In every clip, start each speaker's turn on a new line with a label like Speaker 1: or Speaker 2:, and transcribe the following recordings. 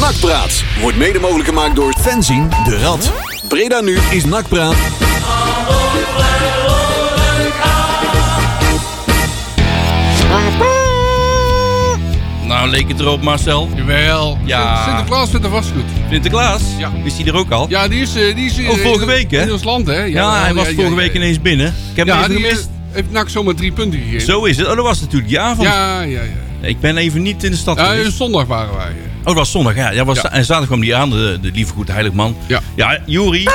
Speaker 1: Nakpraat wordt mede mogelijk gemaakt door Fenzin de Rad. Breda nu is Nakpraat.
Speaker 2: Nou, leek het erop, Marcel.
Speaker 3: Jawel.
Speaker 2: Ja.
Speaker 3: Sinterklaas vindt het vastgoed.
Speaker 2: Sinterklaas?
Speaker 3: Ja.
Speaker 2: Is hij er ook al?
Speaker 3: Ja, die is... eh, Die is eh,
Speaker 2: Oh, vorige week, hè?
Speaker 3: In ons land, hè? Ja,
Speaker 2: Ja, hij
Speaker 3: ja,
Speaker 2: was
Speaker 3: ja,
Speaker 2: vorige
Speaker 3: ja,
Speaker 2: week
Speaker 3: ja.
Speaker 2: ineens binnen. Ik heb
Speaker 3: Ja,
Speaker 2: hem even
Speaker 3: die
Speaker 2: gemist.
Speaker 3: eh, heeft NAC zomaar drie punten gegeven.
Speaker 2: Zo is het. Oh, dat was natuurlijk die avond.
Speaker 3: Ja, ja, ja.
Speaker 2: Ik ben even niet in de stad
Speaker 3: Ja,
Speaker 2: geweest.
Speaker 3: zondag waren wij. eh.
Speaker 2: Oh, dat was zondag, ja. ja, was
Speaker 3: Ja.
Speaker 2: za- En zaterdag kwam die aan, de, de lieve goede heilig man.
Speaker 3: Ja.
Speaker 2: Ja, Juri.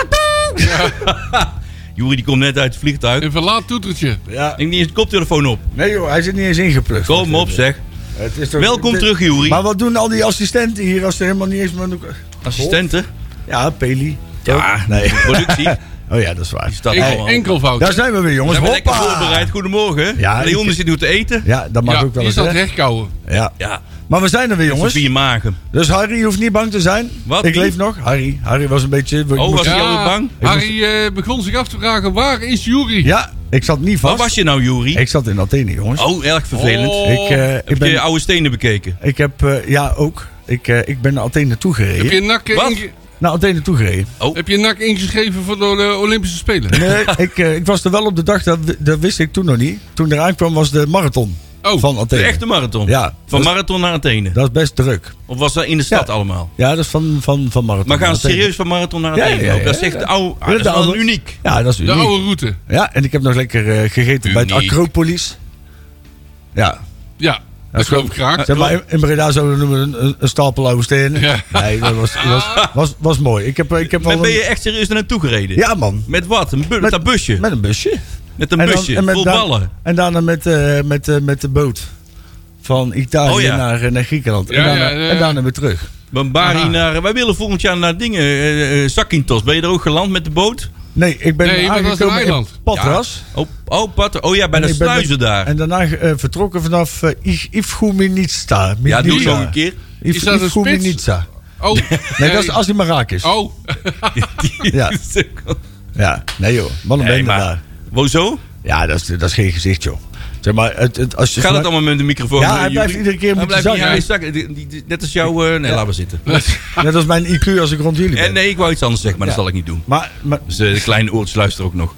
Speaker 2: Juri, die komt net uit het vliegtuig.
Speaker 3: Een verlaat toetertje.
Speaker 4: Ja.
Speaker 2: Ik neem niet eens de koptelefoon op.
Speaker 4: Nee joh, hij zit niet eens ingeplukt.
Speaker 2: Kom op, zeg.
Speaker 4: Het is toch-
Speaker 2: Welkom
Speaker 4: dit-
Speaker 2: terug, Juri.
Speaker 4: Maar wat doen al die assistenten hier als ze helemaal niet eens met elkaar...
Speaker 2: Assistenten.
Speaker 4: Ja, Peli.
Speaker 2: Ja,
Speaker 4: Nee.
Speaker 2: productie.
Speaker 4: Oh ja, dat is waar.
Speaker 2: Staat
Speaker 3: Enkel-
Speaker 2: allemaal.
Speaker 3: enkelvoud.
Speaker 4: Daar zijn we weer,
Speaker 2: We
Speaker 4: jongens.
Speaker 2: hebben lekker
Speaker 4: Hoppa!
Speaker 2: voorbereid. Goedemorgen.
Speaker 4: Ja,
Speaker 2: Leon
Speaker 4: ik-
Speaker 2: zit nu te eten.
Speaker 4: Ja, dat mag
Speaker 3: ja,
Speaker 4: ook wel
Speaker 3: die
Speaker 4: eens,
Speaker 3: zat
Speaker 4: hè?
Speaker 3: rechtkouwen.
Speaker 4: Ja.
Speaker 2: Ja,
Speaker 4: Maar we zijn er weer, jongens.
Speaker 2: vier magen.
Speaker 4: Dus Harry, je hoeft niet bang te zijn.
Speaker 2: Wat?
Speaker 4: Ik
Speaker 2: Wie?
Speaker 4: leef nog. Harry. Harry was een beetje... ik
Speaker 2: Oh,
Speaker 4: moest-
Speaker 2: was hij alweer bang?
Speaker 3: Harry eh, begon zich af te vragen, waar is Jury?
Speaker 4: Ja, ik zat niet
Speaker 2: Waar
Speaker 4: vast.
Speaker 2: was je nou, Juri?
Speaker 4: Ik zat in Athene, jongens.
Speaker 2: Oh, erg vervelend.
Speaker 3: Oh.
Speaker 4: Ik, eh, ik
Speaker 2: Heb je
Speaker 4: ben...
Speaker 2: oude stenen bekeken?
Speaker 4: Ik heb... eh, ja, ook. Ik, eh, ik ben naar Athene
Speaker 3: Heb je
Speaker 4: toegereden.
Speaker 3: NAC, eh,
Speaker 2: Wat?
Speaker 3: inge-
Speaker 4: Naar Athene toegereden.
Speaker 3: heb je NAC ingeschreven voor de eh, Olympische Spelen?
Speaker 4: Nee, ik, eh, ik was er wel op de dag, dat, wi- dat wist ik toen nog niet. Toen eraan kwam was de marathon
Speaker 3: Oh,
Speaker 4: van
Speaker 2: De
Speaker 4: Athene.
Speaker 2: echte marathon?
Speaker 4: Ja.
Speaker 2: Van
Speaker 4: Dat-
Speaker 2: marathon naar Athene?
Speaker 4: Dat is best druk.
Speaker 2: Of was dat in de stad allemaal?
Speaker 4: Ja, dat is van, van, van marathon.
Speaker 2: Maar gaan
Speaker 4: naar
Speaker 2: ze
Speaker 4: Athene.
Speaker 2: serieus van marathon naar
Speaker 4: Ja,
Speaker 2: Athene?
Speaker 4: ja,
Speaker 2: ook?
Speaker 4: ja,
Speaker 2: Dat is echt
Speaker 4: ja.
Speaker 2: oude...
Speaker 4: Ja,
Speaker 2: ah, dat is wel
Speaker 4: oude-
Speaker 2: uniek.
Speaker 4: Ja, dat is
Speaker 3: de
Speaker 4: uniek.
Speaker 3: oude route.
Speaker 4: Ja, en ik heb nog lekker eh, gegeten bij het
Speaker 2: Uniek.
Speaker 4: Acropolis. Ja.
Speaker 3: Ja, dat geloof ik
Speaker 2: Eh,
Speaker 3: graag.
Speaker 4: Zeg
Speaker 2: oh.
Speaker 4: maar, in- in Breda zouden we noemen een, een stapel oude stenen.
Speaker 3: Ja.
Speaker 4: Nee, dat was, was, was, was mooi. Ik heb, ik heb
Speaker 2: Maar
Speaker 4: al
Speaker 2: ben je
Speaker 4: een,
Speaker 2: echt serieus er naartoe gereden?
Speaker 4: ja, man.
Speaker 2: Met wat? Een bu- met,
Speaker 4: Met-
Speaker 2: dat busje? Met,
Speaker 4: Met een busje.
Speaker 2: een
Speaker 4: dan-
Speaker 2: busje?
Speaker 4: met
Speaker 2: vol
Speaker 4: da-
Speaker 2: ballen?
Speaker 4: En daarna met, eh, met, eh, met de boot. Van Italië
Speaker 2: Oh, ja.
Speaker 4: naar, eh, naar Griekenland.
Speaker 3: Ja,
Speaker 4: en, daarna,
Speaker 3: ja, ja, ja.
Speaker 4: en daarna weer terug.
Speaker 2: Van Bari
Speaker 3: Aha.
Speaker 2: naar... Wij willen volgend jaar naar dingen... eh, eh, Zakynthos. Ben je er ook geland met de boot?
Speaker 4: Nee, ik ben
Speaker 3: Nee, je bent als een
Speaker 4: aangekomen in
Speaker 3: eiland.
Speaker 4: Patras.
Speaker 2: Oh, oh, Pat, oh ja, bij de
Speaker 4: En ik ben
Speaker 2: sluizen
Speaker 4: met-
Speaker 2: daar.
Speaker 4: En daarna eh, vertrokken vanaf eh, I- Ivgominitsa.
Speaker 2: Ja, doe zo een keer.
Speaker 3: Is dat een spits?
Speaker 4: Ivgominitsa.
Speaker 3: Oh,
Speaker 4: Nee, dat is als hij maar raak is.
Speaker 3: Oh,
Speaker 4: Ja. Ja, nee joh. Wat een
Speaker 2: Nee,
Speaker 4: bende
Speaker 2: maar-
Speaker 4: daar.
Speaker 2: Wozo?
Speaker 4: Ja, dat is, dat is geen gezicht joh. Zeg maar, het, het, als je...
Speaker 2: Gaat het allemaal met de microfoon?
Speaker 4: Ja,
Speaker 2: eh,
Speaker 4: hij blijft
Speaker 2: Joeri?
Speaker 4: iedere keer
Speaker 2: Hij
Speaker 4: moeten
Speaker 2: blijft niet aan je
Speaker 4: zakken.
Speaker 2: zakken. Die- die- die- Net als jouw... eh, nee, laat maar zitten.
Speaker 4: Net als mijn IQ als ik rond jullie ben.
Speaker 2: En Eh, nee, ik wou iets anders zeggen, maar dat
Speaker 4: Ja.
Speaker 2: zal ik niet doen.
Speaker 4: Maar, maar
Speaker 2: Dus eh, de kleine oortjes luisteren ook nog.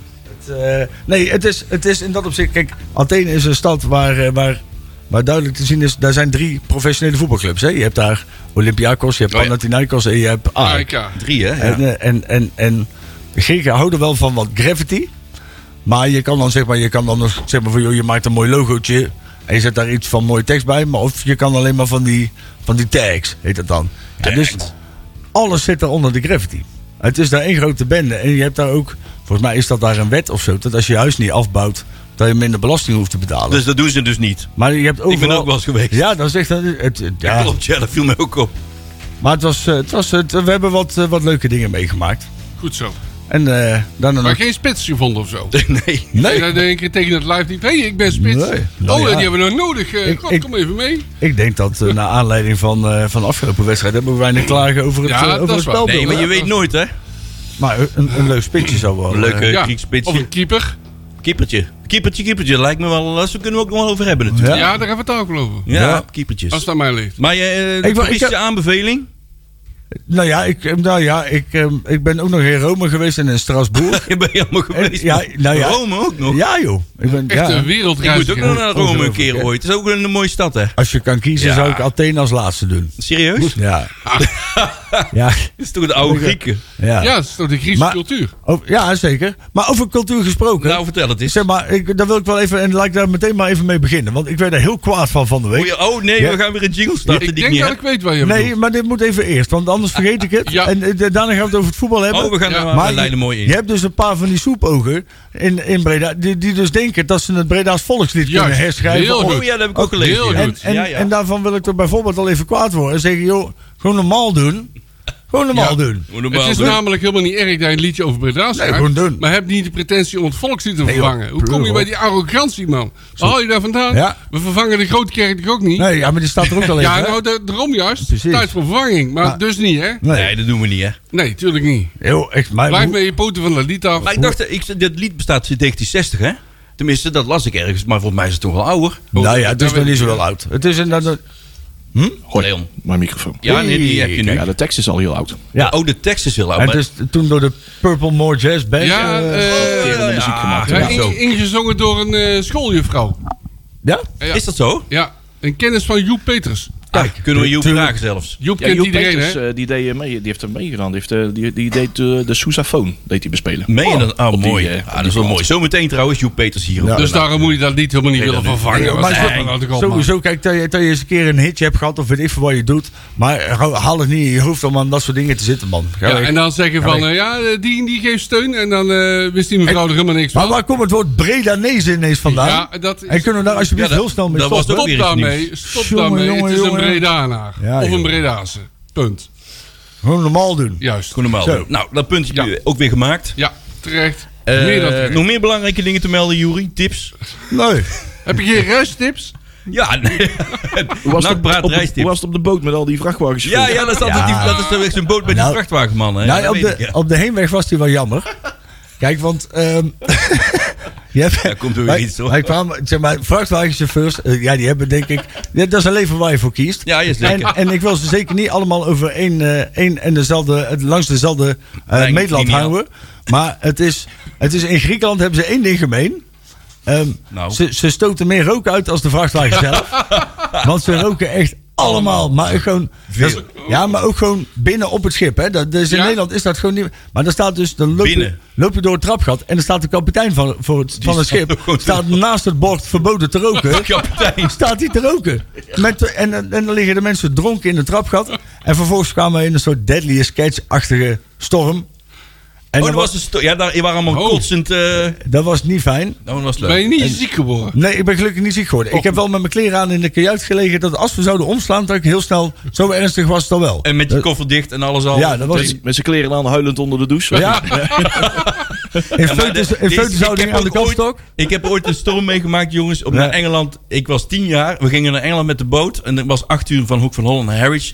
Speaker 4: Eh, nee, het is, het is in dat opzicht. Kijk, Athene is een stad waar, eh, waar, waar duidelijk te zien is. Daar zijn drie professionele voetbalclubs. Hè? Je hebt daar Olympiakos, je hebt
Speaker 2: Oh ja.
Speaker 4: Panathinaikos en je hebt
Speaker 2: Ah,
Speaker 4: AEK.
Speaker 3: Aika.
Speaker 2: Drie, hè? Ja.
Speaker 4: En, eh, en, en, en de Grieken houden wel van wat gravity. Maar je kan dan zeg maar, je kan dan nog zeg maar van joh, je maakt een mooi logootje. En je zet daar iets van mooie tekst bij. Maar of je kan alleen maar van die, van die tags, heet dat dan. En dus alles zit daar onder de gravity. Het is daar één grote bende. En je hebt daar ook, volgens mij is dat daar een wet of zo. Dat als je je huis niet afbouwt, dat je minder belasting hoeft te betalen.
Speaker 2: Dus dat doen ze dus niet.
Speaker 4: maar je hebt overal,
Speaker 2: Ik ben ook wel eens geweest.
Speaker 4: Ja, dat is echt... een- Het, het-
Speaker 2: Ja.
Speaker 4: ja.
Speaker 2: Klopt, ja, dat viel me ook op.
Speaker 4: Maar het was, eh, het was, het, we hebben wat, eh, wat leuke dingen meegemaakt.
Speaker 3: Goed zo.
Speaker 4: En eh daarna
Speaker 3: Maar
Speaker 4: nog...
Speaker 3: geen spits gevonden of zo.
Speaker 2: Nee.
Speaker 3: En dan denk ik tegen het live niet. Hé, hey, ik ben spits.
Speaker 4: Nee. Nou
Speaker 3: oh,
Speaker 4: ja.
Speaker 3: die hebben we nog nodig. Eh,
Speaker 4: Ik-
Speaker 3: God,
Speaker 4: ik-
Speaker 3: kom even mee.
Speaker 4: Ik denk dat eh, naar aanleiding van, eh, van de afgelopen wedstrijd hebben we weinig klagen over het,
Speaker 3: Ja,
Speaker 4: eh,
Speaker 3: dat
Speaker 4: over het
Speaker 3: is waar.
Speaker 4: spelbeeld.
Speaker 2: Nee, maar je
Speaker 4: hè?
Speaker 2: weet nooit, hè?
Speaker 4: Maar eh, een, een leuk spitsje zou wel.
Speaker 2: Een leuke
Speaker 4: eh,
Speaker 3: Ja.
Speaker 2: Grieks spitsje.
Speaker 3: Of een keeper.
Speaker 2: Keepertje. Keepertje, keepertje. Lijkt me wel... Daar kunnen we ook nog wel over hebben, natuurlijk.
Speaker 4: ja.
Speaker 3: Ja, daar hebben we het ook wel over.
Speaker 2: Ja,
Speaker 4: Ja.
Speaker 2: keepertjes.
Speaker 3: Als het aan mij ligt.
Speaker 2: Maar je,
Speaker 4: Ik wou-
Speaker 2: ik,
Speaker 4: ik
Speaker 2: je
Speaker 4: heb-
Speaker 2: aanbeveling?
Speaker 4: Nou ja, ik, eh, nou ja ik, eh, ik ben ook nog in Rome geweest en in Straatsburg.
Speaker 2: Je bent helemaal geweest.
Speaker 4: ja, nou ja.
Speaker 2: Rome ook nog.
Speaker 4: ja joh. Ik ben,
Speaker 3: Echt
Speaker 4: ja,
Speaker 3: een
Speaker 2: Ik moet ook nog
Speaker 3: wereldreiziger.
Speaker 2: naar Rome een keer
Speaker 4: Ongelooflijk, hè?
Speaker 2: ooit. Het is ook een mooie stad, hè?
Speaker 4: als je kan kiezen
Speaker 2: Ja.
Speaker 4: zou ik Athene als laatste doen.
Speaker 2: Serieus?
Speaker 4: Ja. ja.
Speaker 2: Het is toch de oude Grieken?
Speaker 4: Ja.
Speaker 3: Ja, dat is toch de Griekse
Speaker 4: Maar-
Speaker 3: cultuur.
Speaker 4: Over- ja, zeker. Maar over cultuur gesproken.
Speaker 2: Nou, vertel het eens.
Speaker 4: zeg maar, ik, daar wil ik wel even, en laat ik daar meteen maar even mee beginnen. Want ik werd er heel kwaad van van de
Speaker 2: Moet
Speaker 4: week.
Speaker 2: je- Oh nee,
Speaker 4: Ja.
Speaker 2: we gaan weer een jingle starten
Speaker 3: Ik
Speaker 2: die ik
Speaker 3: denk
Speaker 2: niet
Speaker 3: dat
Speaker 2: heb.
Speaker 3: ik weet waar je
Speaker 4: Nee,
Speaker 3: bedoelt.
Speaker 4: maar dit moet even eerst, want anders vergeet ik het.
Speaker 3: Ja.
Speaker 4: En eh, daarna gaan we het over het voetbal hebben.
Speaker 2: Oh, we gaan
Speaker 3: Ja.
Speaker 2: er maar,
Speaker 4: Maar
Speaker 2: we leiden mooi in.
Speaker 4: Je hebt dus een paar van die soepogen in, in Breda. Die, die dus denken dat ze het Breda's volkslied
Speaker 3: Juist.
Speaker 4: kunnen herschrijven.
Speaker 3: Heel
Speaker 4: Of-
Speaker 3: goed.
Speaker 2: Oh ja, dat heb ik ook
Speaker 4: Ook
Speaker 2: gelezen.
Speaker 3: heel
Speaker 2: ja.
Speaker 4: en, en,
Speaker 2: ja, ja.
Speaker 4: en daarvan wil ik er bijvoorbeeld al even kwaad worden. En zeggen, joh, gewoon normaal doen. Gewoon normaal
Speaker 3: Ja.
Speaker 4: doen.
Speaker 2: Hoe normaal
Speaker 3: Het is nou-
Speaker 2: doen.
Speaker 3: namelijk helemaal niet erg dat je een liedje over Breda schrijft.
Speaker 4: gewoon doen.
Speaker 3: Maar heb niet de pretentie om het volkslied te
Speaker 4: joh,
Speaker 3: vervangen. Hoe kom je
Speaker 4: pleur,
Speaker 3: bij die arrogantie, man? Waar haal je daar vandaan?
Speaker 4: Ja.
Speaker 3: We vervangen de Grootkerk toch ook niet?
Speaker 4: Nee, ja, maar die staat er ook al even.
Speaker 3: Ja,
Speaker 4: hè?
Speaker 3: nou, da- daarom juist.
Speaker 4: Precies.
Speaker 3: Tijd voor vervanging. Maar dus niet, hè?
Speaker 4: Nee.
Speaker 2: Nee, dat doen we niet, hè?
Speaker 3: Nee, tuurlijk niet.
Speaker 4: Joh, echt, maar
Speaker 3: Blijf
Speaker 4: hoe-
Speaker 3: met je poten van de lied af.
Speaker 2: Maar ik dacht, ik, dit lied bestaat sinds 1960, hè? Tenminste, dat las ik ergens, maar volgens mij is het toch wel ouder.
Speaker 4: Nou ja, het is
Speaker 3: Daar
Speaker 4: nog
Speaker 3: ben
Speaker 4: niet
Speaker 3: ik-
Speaker 4: zo wel oud. Het is inderdaad...
Speaker 5: Hoi,
Speaker 2: Leon.
Speaker 5: Mijn microfoon.
Speaker 2: Ja, nee, die heb je nu.
Speaker 5: Ja, de tekst is al heel oud.
Speaker 4: Ja.
Speaker 2: Oh, de tekst is heel oud.
Speaker 4: En
Speaker 2: maar-
Speaker 4: dus toen door de Purple More Jazz Band.
Speaker 3: Ja,
Speaker 4: eh,
Speaker 3: eh,
Speaker 2: Ja, ja,
Speaker 5: muziek gemaakt,
Speaker 2: ja,
Speaker 3: ja, in-
Speaker 2: zo.
Speaker 3: ingezongen door een eh, schooljuffrouw.
Speaker 4: ja?
Speaker 3: Ja.
Speaker 2: Is dat zo?
Speaker 3: Ja, een kennis van Joep Peters.
Speaker 2: Kijk, ah, kunnen we je
Speaker 4: tuurlijk.
Speaker 2: vragen zelfs.
Speaker 3: Joep
Speaker 5: Ja,
Speaker 3: kent
Speaker 5: Joep
Speaker 3: iedereen,
Speaker 5: Peters,
Speaker 3: hè?
Speaker 5: eh, die, deed, eh, mee, die heeft er meegedaan. Die, heeft, eh, die, die deed eh, de sousaphone deed hij bespelen.
Speaker 2: Meen je dat? Oh,
Speaker 5: Op die,
Speaker 2: mooi.
Speaker 5: eh, op
Speaker 2: ah,
Speaker 5: die
Speaker 2: dat is wel
Speaker 5: plaat.
Speaker 2: mooi. Zometeen trouwens, Joep Peters hier. op de
Speaker 3: dus
Speaker 2: naam.
Speaker 3: daarom moet je dat niet helemaal niet willen
Speaker 2: dat niet.
Speaker 3: vervangen.
Speaker 2: Nee,
Speaker 3: want
Speaker 2: maar
Speaker 3: dat
Speaker 2: zo-
Speaker 3: kan natuurlijk ook, maar-
Speaker 4: Sowieso, kijk, dat je, dat je eens een keer een hitje hebt gehad of weet ik veel wat je doet. Maar haal het niet in je hoofd om aan dat soort dingen te zitten, man. Ga
Speaker 3: Ja,
Speaker 4: weg.
Speaker 3: en dan zeggen van, eh, ja, eh, die en die geeft steun. En dan eh, wist die mevrouw er helemaal niks
Speaker 4: Maar
Speaker 3: van.
Speaker 4: waar komt het woord Bredanees ineens vandaan?
Speaker 3: Ja, dat is-
Speaker 4: En kunnen we daar alsjeblieft
Speaker 2: Ja, dat-
Speaker 4: heel snel mee
Speaker 2: dat was
Speaker 4: stoppen?
Speaker 2: ook
Speaker 3: Stop
Speaker 2: weer iets
Speaker 3: daarmee.
Speaker 2: nieuws.
Speaker 3: Stop
Speaker 4: Jongen,
Speaker 3: daarmee.
Speaker 4: jongen,
Speaker 3: het is een
Speaker 4: jongen.
Speaker 3: Bredanaar.
Speaker 4: Ja,
Speaker 3: of een
Speaker 4: joh.
Speaker 3: Bredase. Punt.
Speaker 4: Gewoon normaal doen.
Speaker 3: Juist.
Speaker 2: Goed normaal.
Speaker 4: Zo.
Speaker 2: Nou, dat puntje
Speaker 3: Ja.
Speaker 2: weer- ook weer gemaakt.
Speaker 3: Ja, terecht.
Speaker 2: Eh,
Speaker 3: Meer dan terecht.
Speaker 2: nog meer belangrijke dingen te melden, Jury? Tips?
Speaker 4: Nee.
Speaker 3: Heb je geen resttips?
Speaker 2: Ja, nee.
Speaker 5: Hoe was, het op,
Speaker 2: Nakbraad
Speaker 5: op de- hoe was
Speaker 2: reistips.
Speaker 5: het op de boot met al die vrachtwagens?
Speaker 2: Ja, ja, dat is altijd
Speaker 4: Ja.
Speaker 2: die, dat is echt zo'n boot met die
Speaker 4: Nou,
Speaker 2: vrachtwagenman. Hè?
Speaker 4: nou,
Speaker 2: Dat
Speaker 4: op,
Speaker 2: weet
Speaker 4: de,
Speaker 2: ik, ja.
Speaker 4: op de heenweg was die wel jammer. Kijk, want... ehm je hebt,
Speaker 2: Daar komt er weer
Speaker 4: wij,
Speaker 2: iets, hoor.
Speaker 4: Wij kwamen, zeg maar, vrachtwagenchauffeurs, eh, ja, die hebben denk ik... ja, dat is een leven waar je voor kiest.
Speaker 2: Ja, is
Speaker 4: en,
Speaker 2: lekker.
Speaker 4: en ik wil ze zeker niet allemaal over één, eh, één en dezelfde, het- langs dezelfde eh
Speaker 2: Lijn,
Speaker 4: meetland
Speaker 2: lineaal.
Speaker 4: houden. Maar het is, het is, in Griekenland hebben ze één ding gemeen. Ehm,
Speaker 2: Nou.
Speaker 4: ze, ze stoten meer rook uit als de vrachtwagen zelf. Want ze roken echt allemaal. Maar ook gewoon, dat is- ja, maar ook gewoon binnen op het schip. Hè. Dat, dus in
Speaker 3: Ja.
Speaker 4: Nederland is dat gewoon niet. Maar dan staat dus. Dan loop, je,
Speaker 2: Binnen.
Speaker 4: loop je door het trapgat. En dan staat de kapitein van, voor het, van het
Speaker 2: staat
Speaker 4: schip.
Speaker 2: ook gewoon te-
Speaker 4: Staat naast het bord verboden te roken.
Speaker 2: Kapitein.
Speaker 4: Staat hij te roken? Met, en, en dan liggen de mensen dronken in het trapgat. En vervolgens kwamen we in een soort deadly sketch-achtige storm. En
Speaker 2: Oh,
Speaker 4: dat,
Speaker 2: dat was een sto- Ja, daar waren allemaal
Speaker 3: Oh.
Speaker 2: kotsend. eh,
Speaker 4: dat was niet fijn.
Speaker 2: Nou, dat was
Speaker 3: Ben
Speaker 2: leuk.
Speaker 3: je niet ziek geworden?
Speaker 4: Nee, ik ben gelukkig niet ziek geworden.
Speaker 2: Oh.
Speaker 4: Ik heb wel met mijn kleren aan in de kajuit gelegen. Dat als we zouden omslaan, dat ik heel snel. Zo ernstig was het dan wel.
Speaker 2: En met Dus- je koffer dicht en alles al.
Speaker 4: Ja, dat was.
Speaker 5: Met zijn kleren aan, huilend onder de douche.
Speaker 4: Ja. In
Speaker 2: Ja, maar
Speaker 4: foetus-
Speaker 2: de-
Speaker 4: in
Speaker 2: deze-
Speaker 4: feutushouding
Speaker 2: ik heb
Speaker 4: aan de
Speaker 2: ook ooit-
Speaker 4: kapstok.
Speaker 2: Ik heb ooit een storm meegemaakt, jongens. Op
Speaker 4: Ja.
Speaker 2: naar Engeland. Ik was tien jaar. We gingen naar Engeland met de boot. En het was acht uur van Hoek van Holland naar Harwich.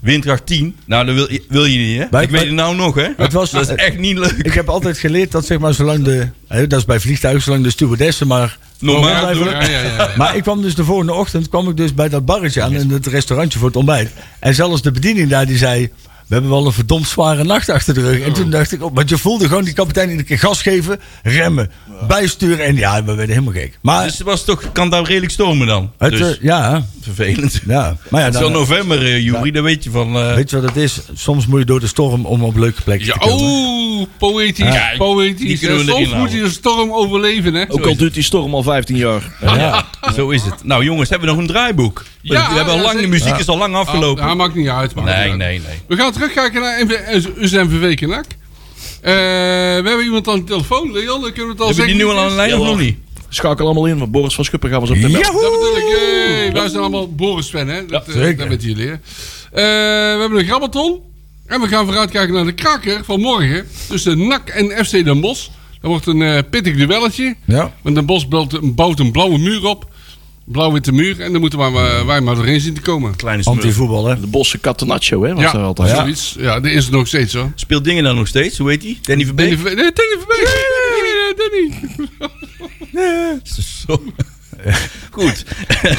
Speaker 2: Windkracht 10. Nou, dat wil, wil je niet, hè?
Speaker 4: Wij-
Speaker 2: ik weet
Speaker 4: wij-
Speaker 2: het nou nog, hè?
Speaker 4: Het was-
Speaker 2: dat is echt niet leuk.
Speaker 4: Ik heb altijd geleerd dat zeg maar zolang de... hè, Dat is bij vliegtuigen, zolang de stewardessen maar...
Speaker 2: Normaal
Speaker 4: blijven
Speaker 2: doen,
Speaker 4: lopen.
Speaker 3: Ja, ja, ja.
Speaker 4: Maar ik kwam dus de volgende ochtend kwam ik dus bij dat barretje aan in het restaurantje voor het ontbijt. En zelfs de bediening daar die zei... We hebben wel een verdomd zware nacht achter de rug. En toen dacht ik, oh, want je voelde gewoon die kapitein iedere keer gas geven, remmen, bijsturen. En ja, we werden helemaal gek. Maar
Speaker 2: Dus het was toch, kan daar redelijk stormen dan.
Speaker 4: het,
Speaker 2: dus,
Speaker 4: eh, ja,
Speaker 2: vervelend.
Speaker 4: ja. Maar ja,
Speaker 2: het is wel
Speaker 4: dan,
Speaker 2: november, eh, Joeri. Daar weet je van. eh,
Speaker 4: Nou, weet je wat het is? Soms moet je door de storm om op leuke plekken
Speaker 3: Ja,
Speaker 4: te komen.
Speaker 3: oh, poëtisch,
Speaker 2: Kijk, die
Speaker 3: poëtisch.
Speaker 2: kunnen we
Speaker 3: En
Speaker 2: erin
Speaker 3: Soms moet
Speaker 2: houden.
Speaker 3: je de storm overleven, hè?
Speaker 5: Ook al duurt die storm al 15 jaar.
Speaker 4: Ja.
Speaker 2: Zo is het. Nou, jongens, hebben we nog een draaiboek?
Speaker 3: Ja,
Speaker 2: we hebben al
Speaker 3: ja,
Speaker 2: lang, de
Speaker 3: zeker.
Speaker 2: muziek is al lang afgelopen.
Speaker 3: Ah, dat maakt niet uit. Maakt
Speaker 2: nee,
Speaker 3: niet uit.
Speaker 2: nee, nee.
Speaker 3: We gaan terugkijken naar eh, MV UZMVV Knak. Eh, we hebben iemand aan de telefoon, Leon. Dan kunnen we het al
Speaker 2: Hebben
Speaker 3: zeggen.
Speaker 2: die nu al aan de lijn
Speaker 5: Ja,
Speaker 2: of nog
Speaker 5: hoor.
Speaker 2: niet?
Speaker 5: Schakel allemaal in, want Boris van Schuppen gaan we zo op de bel.
Speaker 4: Yahoo!
Speaker 3: Dat bedoel ik. eh. Hey, wij zijn allemaal Boris-fan, hè? Dat, eh,
Speaker 4: zeker.
Speaker 3: dat weten jullie, hè? Eh, we hebben een grammaton. En we gaan vooruitkijken naar de kraker van morgen. Tussen NAC en FC Den Bosch. Dat wordt een eh, pittig duelletje.
Speaker 4: Ja.
Speaker 3: Want Den Bosch bouwt, bouwt een blauwe muur op. Blauw-witte muur. En dan moeten wij, maar- eh, wij maar doorheen zien te komen.
Speaker 2: Kleine smurf.
Speaker 4: Anti-voetbal, hè?
Speaker 5: De Bosse Catenaccio, hè? Was
Speaker 3: Ja,
Speaker 5: daar altijd.
Speaker 4: Ja.
Speaker 3: zoiets. Ja, dat is het nog steeds, hoor.
Speaker 2: Speelt dingen dan nog steeds? Hoe heet die? Danny
Speaker 3: Danny
Speaker 2: Verbeek?
Speaker 3: Verbe- Nee, Danny Verbeek. Nee, nee, nee, Danny.
Speaker 2: Zo. Goed.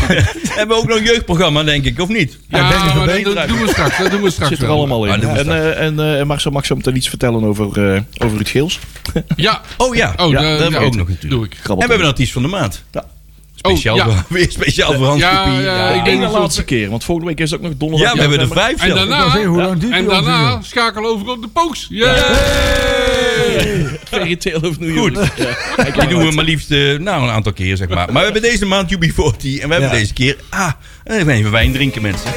Speaker 2: Hebben we ook nog een jeugdprogramma, denk ik, of niet?
Speaker 3: Ja,
Speaker 4: Danny
Speaker 3: maar
Speaker 4: Verbeek.
Speaker 3: dat, dat doen we straks. Dat doen we straks
Speaker 5: Zit er
Speaker 3: wel.
Speaker 5: allemaal in.
Speaker 2: Ah, dat moet
Speaker 5: en, eh, en eh, Marcel mag zo meteen iets vertellen over, eh over het Geels.
Speaker 3: Ja.
Speaker 2: Oh ja,
Speaker 3: Oh,
Speaker 2: Ja,
Speaker 3: de-
Speaker 2: dat hebben we
Speaker 3: ja,
Speaker 2: ook nog natuurlijk.
Speaker 3: Doe ik.
Speaker 2: En we hebben een artiest van de maand.
Speaker 5: Ja.
Speaker 2: Speciaal
Speaker 3: Oh, ja.
Speaker 2: voor, weer speciaal voor Hans
Speaker 3: Ja,
Speaker 2: Kopie.
Speaker 3: ja,
Speaker 2: Ja,
Speaker 3: ik
Speaker 5: ik
Speaker 3: denk
Speaker 5: denk
Speaker 3: dat
Speaker 5: de
Speaker 3: we-
Speaker 5: laatste keer, want volgende week is het ook nog donderdag.
Speaker 2: Ja, we hebben er
Speaker 5: november.
Speaker 2: vijf
Speaker 3: En
Speaker 2: zelfs.
Speaker 3: daarna,
Speaker 4: zeggen, hoe lang duurt
Speaker 3: en
Speaker 4: die
Speaker 3: daarna
Speaker 4: ongeveer?
Speaker 3: schakelen we over op de poos. Yeah.
Speaker 5: Fairy Tale of New
Speaker 2: Goed.
Speaker 5: York. Ja, ik
Speaker 2: Die doen we
Speaker 5: het.
Speaker 2: maar liefst eh, nou, een aantal keer, zeg maar. Maar we hebben deze maand UB40 en we hebben
Speaker 4: Ja.
Speaker 2: deze keer... Ah, even even wijn drinken, mensen.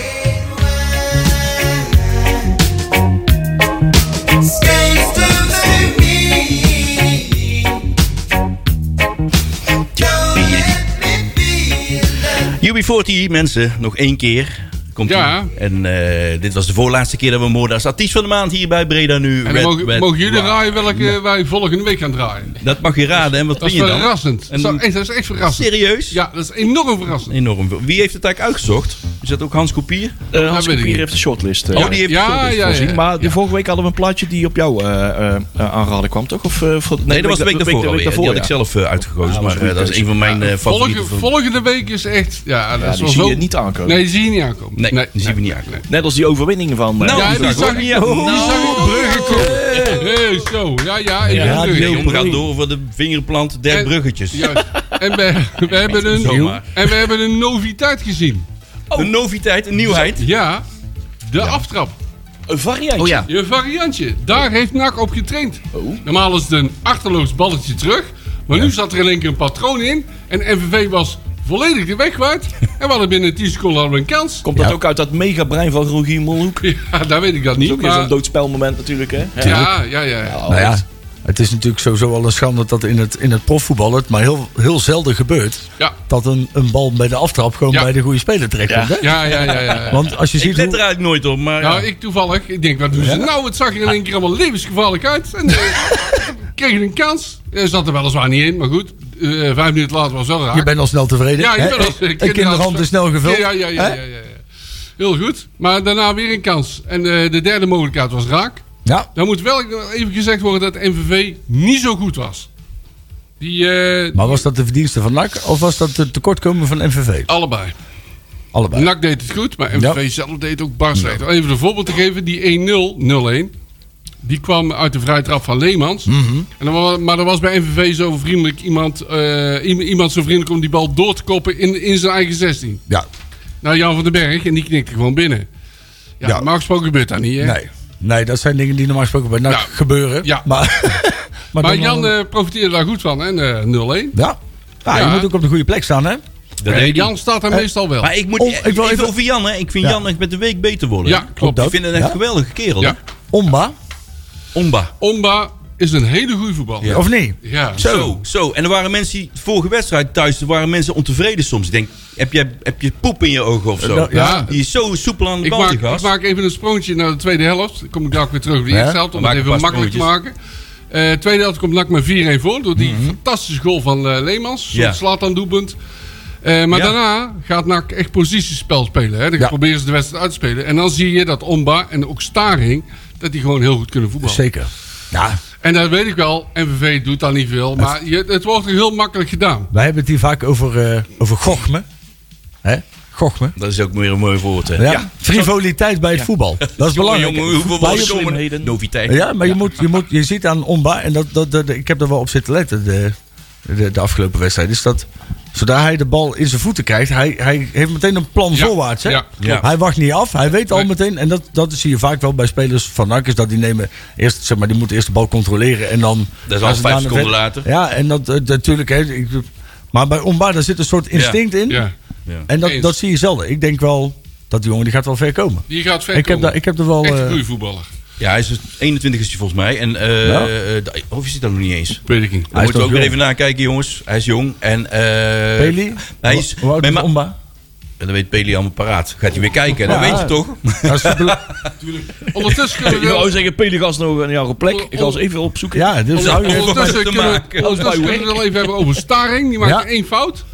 Speaker 6: Skates to the beat. Don't let me feel
Speaker 2: UB40, mensen, nog één keer. Komt
Speaker 3: Ja.
Speaker 2: ie. En eh, dit was de voorlaatste keer dat we moorden als artiest van de maand hier bij Breda nu.
Speaker 3: En dan
Speaker 2: Red,
Speaker 3: mogen,
Speaker 2: Red
Speaker 3: mogen jullie
Speaker 2: Rock.
Speaker 3: draaien welke wij volgende week gaan draaien.
Speaker 2: Dat mag je raden, en wat
Speaker 3: Dat
Speaker 2: vind
Speaker 3: is
Speaker 2: je dan?
Speaker 3: verrassend.
Speaker 2: En-
Speaker 3: dat, is echt, dat is echt verrassend.
Speaker 2: Serieus?
Speaker 3: Ja, dat is enorm verrassend.
Speaker 2: Enorm veel. Wie heeft het eigenlijk uitgezocht? Is dat ook Hans Kopier?
Speaker 5: Eh,
Speaker 3: Dat
Speaker 5: Hans
Speaker 3: weet ik
Speaker 5: Kopier
Speaker 3: niet.
Speaker 5: heeft de shortlist. eh,
Speaker 2: Oh, die heeft
Speaker 3: Ja,
Speaker 2: het
Speaker 3: ja,
Speaker 2: voorzien.
Speaker 5: voorzien. eh, Maar de vorige week hadden we een plaatje die op jou eh, eh, eh, aangeraden kwam, toch? Of, eh, voor-
Speaker 2: Nee, dat was de week
Speaker 5: de
Speaker 2: daarvoor. alweer. Die had
Speaker 5: ja.
Speaker 2: ik zelf eh, uitgekozen,
Speaker 5: Ja, dat
Speaker 2: maar
Speaker 5: was
Speaker 2: eh,
Speaker 5: een goede
Speaker 2: dat is
Speaker 5: keuze.
Speaker 2: een van mijn eh,
Speaker 3: Volgende,
Speaker 2: favoriete.
Speaker 3: volgende week is echt... Ja, dat
Speaker 5: Ja,
Speaker 3: is
Speaker 5: die
Speaker 3: wel
Speaker 5: zie
Speaker 3: zo.
Speaker 5: je niet aankomen.
Speaker 3: Nee, die zie je niet
Speaker 2: Nee,
Speaker 3: aankomen. Nee,
Speaker 2: die zien we
Speaker 3: nee,
Speaker 2: niet aankomen.
Speaker 5: Net als Nou, die overwinning van... eh,
Speaker 2: Nou,
Speaker 3: Ja,
Speaker 2: die
Speaker 3: die
Speaker 2: zag ik.
Speaker 3: zag ik.
Speaker 2: Oh.
Speaker 3: Nou, Die zag ik op Brugge komen. Hey, zo. Ja, ja. En
Speaker 4: Ja,
Speaker 2: De
Speaker 3: de Brugge.
Speaker 2: jongen gaat door voor de vingerplant der
Speaker 3: En-
Speaker 2: bruggetjes.
Speaker 3: Juist. En we, we hebben een,
Speaker 2: Zomaar.
Speaker 3: en we hebben een noviteit gezien. Oh.
Speaker 2: Een noviteit, een nieuwheid.
Speaker 3: Ja, de aftrap.
Speaker 5: Een variantje.
Speaker 2: Oh ja.
Speaker 3: Je variantje. Daar heeft NAC op getraind.
Speaker 5: Oh.
Speaker 3: Normaal is het een achterloos balletje terug. Maar nu zat er in één keer een patroon in. En NVV was volledig de weg kwijt. En we hadden binnen 10 seconden hadden we een kans.
Speaker 5: Komt dat ook uit dat mega brein van Rogier Molhoek? Dat
Speaker 3: Ja, daar weet ik dat
Speaker 5: is
Speaker 3: niet.
Speaker 5: ook weer zo'n
Speaker 3: Maar,
Speaker 5: doodspelmoment natuurlijk, hè? Ja.
Speaker 3: ja, ja, ja.
Speaker 4: Nou ja, het is natuurlijk sowieso al een schande dat in het, in het profvoetbal het maar heel, heel zelden gebeurt.
Speaker 3: Ja,
Speaker 4: Dat een, een bal bij de aftrap gewoon
Speaker 3: Ja.
Speaker 4: bij de goede speler terechtkomt. hè?
Speaker 3: ja, ja, ja. ja.
Speaker 4: Want als je
Speaker 2: Ik
Speaker 4: ziet
Speaker 2: let er
Speaker 4: hoe,
Speaker 2: eigenlijk nooit op, maar
Speaker 3: Nou,
Speaker 2: ja.
Speaker 3: ik toevallig. Ik denk, wat doen ze nou? Het zag er in één keer allemaal levensgevaarlijk uit. En eh, kregen een kans. Er zat er weliswaar niet in, maar goed. Eh, vijf minuten later was het wel raak.
Speaker 4: je bent al snel tevreden.
Speaker 3: ja,
Speaker 4: hè? eh,
Speaker 3: je bent als
Speaker 4: Een kinderhand is snel gevuld.
Speaker 3: Ja, ja, ja, ja,
Speaker 4: hè?
Speaker 3: ja, ja. Heel goed. Maar daarna weer een kans. En eh, de derde mogelijkheid was raak.
Speaker 4: Ja.
Speaker 3: Dan moet wel even gezegd worden dat NVV niet zo goed was. Die, eh,
Speaker 4: Maar was dat de verdienste van NAC of was dat de tekortkomen van MVV?
Speaker 3: allebei.
Speaker 4: Allebei.
Speaker 3: NAC deed het goed, maar MVV zelf deed het ook bar slecht. Om Even een voorbeeld te geven, die 1-0, 0-1. Die kwam uit de vrije trap van Leemans. en dan, wa- maar er was bij MVV zo vriendelijk iemand, eh, iem- iemand zo vriendelijk om die bal door te koppen in, in zijn eigen 16.
Speaker 4: Ja,
Speaker 3: Nou, Jan van den Berg, en die knikte gewoon binnen. Ja,
Speaker 4: Ja.
Speaker 3: normaal gesproken gebeurt dat niet, hè?
Speaker 4: nee. Nee, dat zijn dingen die normaal gesproken bij NAC
Speaker 3: Nou,
Speaker 4: gebeuren.
Speaker 3: ja.
Speaker 4: Maar, maar
Speaker 3: Maar
Speaker 4: dan
Speaker 3: Jan
Speaker 4: wel-
Speaker 3: eh, profiteerde daar goed van, hè? eh, 0-1.
Speaker 4: ja. Ja,
Speaker 3: Ja.
Speaker 4: je moet ook op de goede plek staan, hè?
Speaker 2: dat
Speaker 3: Eh,
Speaker 2: deed hij.
Speaker 3: Jan staat daar meestal wel.
Speaker 2: Maar ik moet
Speaker 4: Om-
Speaker 2: ik
Speaker 4: Oh, ik wil
Speaker 2: even
Speaker 4: even-
Speaker 2: over Jan, hè. Ik vind
Speaker 4: Ja.
Speaker 2: Jan echt met de week beter worden.
Speaker 3: Ja, klopt.
Speaker 2: Ik vind hem echt
Speaker 4: Ja.
Speaker 2: geweldige kerel.
Speaker 3: Ja.
Speaker 2: hè.
Speaker 4: Omba,
Speaker 2: Omba.
Speaker 3: Omba is een hele goede voetballer.
Speaker 4: of niet?
Speaker 3: Ja.
Speaker 2: Zo, zo. En er waren mensen die, vorige wedstrijd thuis, er waren mensen ontevreden soms. Ik denk, heb je, heb je poep in je ogen of zo?
Speaker 4: Eh, nou,
Speaker 3: ja.
Speaker 2: Die is zo soepel aan de
Speaker 3: Ik
Speaker 2: bal,
Speaker 3: maak,
Speaker 2: die gast.
Speaker 3: ik maak even een sprongetje naar de tweede helft. Dan kom ik daar ook weer terug op de
Speaker 4: Ja,
Speaker 3: eerste helft. Om
Speaker 2: we
Speaker 3: het
Speaker 2: maken
Speaker 3: even
Speaker 2: een paar
Speaker 3: makkelijk te maken. Eh tweede helft komt NAC met 4-1 voor. Door die
Speaker 4: Mhm.
Speaker 3: fantastische goal van eh, Leemans.
Speaker 2: Ja.
Speaker 3: Slaat aan doelpunt. Eh, maar
Speaker 2: Ja.
Speaker 3: daarna gaat NAC echt positiespel spelen. Hè. Dan
Speaker 4: Ja.
Speaker 3: proberen ze de wedstrijd uit te spelen. En dan zie je dat Omba en ook Staring... dat die gewoon heel goed kunnen voetballen.
Speaker 4: Zeker. Ja,
Speaker 3: En dat weet ik wel. NVV doet daar niet veel. Maar je, het wordt er heel makkelijk gedaan.
Speaker 4: wij hebben het hier vaak over, eh, over gochme. Hè? Gochme.
Speaker 2: Dat is ook weer een mooi woord, hè.
Speaker 4: Ja. Frivoliteit bij het voetbal. Dat is
Speaker 2: Jongen,
Speaker 4: belangrijk.
Speaker 2: jongen, hoeveel
Speaker 4: Maar je-
Speaker 2: woorden komen er? Noviteit.
Speaker 4: Ja, maar je, moet, je, moet, je ziet aan Omba, en dat, dat, dat- ik heb er wel op zitten letten de, de, de afgelopen wedstrijd, is dat zodra hij de bal in zijn voeten krijgt, hij, hij heeft meteen een plan
Speaker 3: Ja,
Speaker 4: voorwaarts. Hè?
Speaker 3: ja,
Speaker 2: klopt.
Speaker 4: Hij wacht niet af, hij weet al
Speaker 3: Nee.
Speaker 4: meteen, en dat, dat zie je vaak wel bij spelers van NAC, is dat die nemen eerst, zeg maar, die moeten eerst de bal controleren en dan...
Speaker 2: Dat is al
Speaker 4: gaan ze
Speaker 2: vijf
Speaker 4: daarna verder.
Speaker 2: seconden later.
Speaker 4: Ja, en dat eh, natuurlijk, hè, ik- maar bij Omba, daar zit een soort instinct in,
Speaker 3: Ja.
Speaker 4: en dat,
Speaker 3: Eens.
Speaker 4: dat zie je zelden. Ik denk wel, dat die jongen, die gaat wel ver komen.
Speaker 3: Die gaat ver
Speaker 4: Ik heb,
Speaker 3: komen.
Speaker 4: daar, ik heb er wel...
Speaker 3: Echt een
Speaker 4: eh,
Speaker 3: goede voetballer.
Speaker 2: Ja, hij is dus 21 is hij volgens mij. En, eh
Speaker 4: Ja.
Speaker 2: eh, de- of is hij dat nog niet eens?
Speaker 3: Weet ik niet.
Speaker 2: Daar
Speaker 4: is
Speaker 2: moeten we ook
Speaker 4: nog
Speaker 2: weer
Speaker 4: jong.
Speaker 2: even nakijken, jongens. Hij is jong. En, eh
Speaker 4: Peli?
Speaker 2: Hij is...
Speaker 4: Hoe oud
Speaker 2: Nee,
Speaker 4: is
Speaker 2: maar-
Speaker 4: Omba?
Speaker 2: En dan weet Peli allemaal paraat. Gaat hij weer kijken. Dan
Speaker 4: Ja.
Speaker 2: weet je toch?
Speaker 4: Dat Nou, is de belo- Ah.
Speaker 3: Ondertussen kunnen
Speaker 5: Ik
Speaker 3: we...
Speaker 5: wou zeggen, Peligas nog een jouw
Speaker 2: Oh,
Speaker 5: plek. Ik ga ze even opzoeken.
Speaker 4: ja, dus
Speaker 2: Onder-
Speaker 4: hou je
Speaker 2: onder-
Speaker 4: even
Speaker 2: Volgens mij
Speaker 3: Ondertussen
Speaker 2: te
Speaker 3: kunnen
Speaker 2: maken.
Speaker 3: we, ondertussen kunnen we het wel even hebben over Staring. Die maakte
Speaker 4: Ja.
Speaker 3: één fout.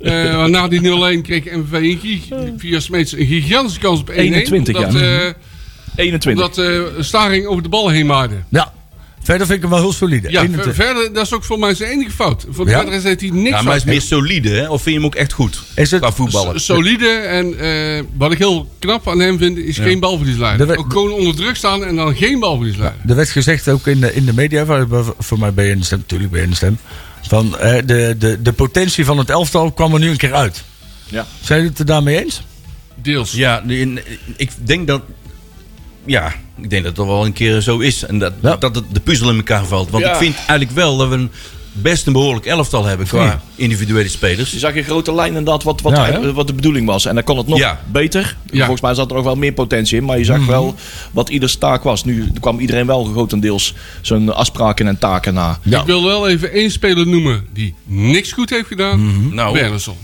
Speaker 3: Eh, want na die 0-1 kreeg MV een gi- via Smeets een gigantische kans op 1-1.
Speaker 5: 21,
Speaker 3: omdat,
Speaker 5: ja.
Speaker 3: eh,
Speaker 5: 21.
Speaker 3: omdat eh, Staring over de bal heen maaide.
Speaker 4: Ja. Verder vind ik hem wel heel solide.
Speaker 3: Ja,
Speaker 4: 21.
Speaker 3: ver- verder, dat is ook voor mij zijn enige fout. Voor de
Speaker 4: Ja?
Speaker 3: verder heeft hij niks
Speaker 2: Ja, maar hij
Speaker 3: fout.
Speaker 2: is meer solide, hè? Of vind je hem ook echt goed?
Speaker 4: Is het-
Speaker 2: Qua voetballen.
Speaker 3: S- Solide en eh, wat ik heel knap aan hem vind, is geen balverliesleider.
Speaker 4: De we-
Speaker 3: Ook gewoon onder druk staan en dan geen balverliesleider.
Speaker 4: Er werd gezegd ook in de, in de media, waar- waar- voor mij ben je in de stem, natuurlijk ben je in de stem. Van eh, de, de, de potentie van het elftal kwam er nu een keer uit.
Speaker 5: Ja.
Speaker 4: Zijn jullie het er daarmee eens?
Speaker 3: Deels.
Speaker 2: Dus Ja, in- ik denk dat... Ja, ik denk dat het wel een keer zo is. En dat,
Speaker 4: Ja.
Speaker 2: dat het de puzzel in elkaar valt. Want
Speaker 5: Ja.
Speaker 2: ik vind eigenlijk wel dat we een, best een behoorlijk elftal hebben qua individuele spelers. Dus
Speaker 5: Je zag in grote lijnen dat wat, wat,
Speaker 4: Ja, hè?
Speaker 5: wat de bedoeling was. En dan kon het nog
Speaker 2: Ja. Mhm.
Speaker 5: beter.
Speaker 3: Ja.
Speaker 5: Volgens mij zat er nog wel meer potentie in. Maar je zag wel wat ieders taak was. Nu kwam iedereen wel grotendeels zijn afspraken en taken na.
Speaker 3: Ik wil wel even één speler noemen die niks goed heeft gedaan.
Speaker 2: Nou,
Speaker 3: Wernersson.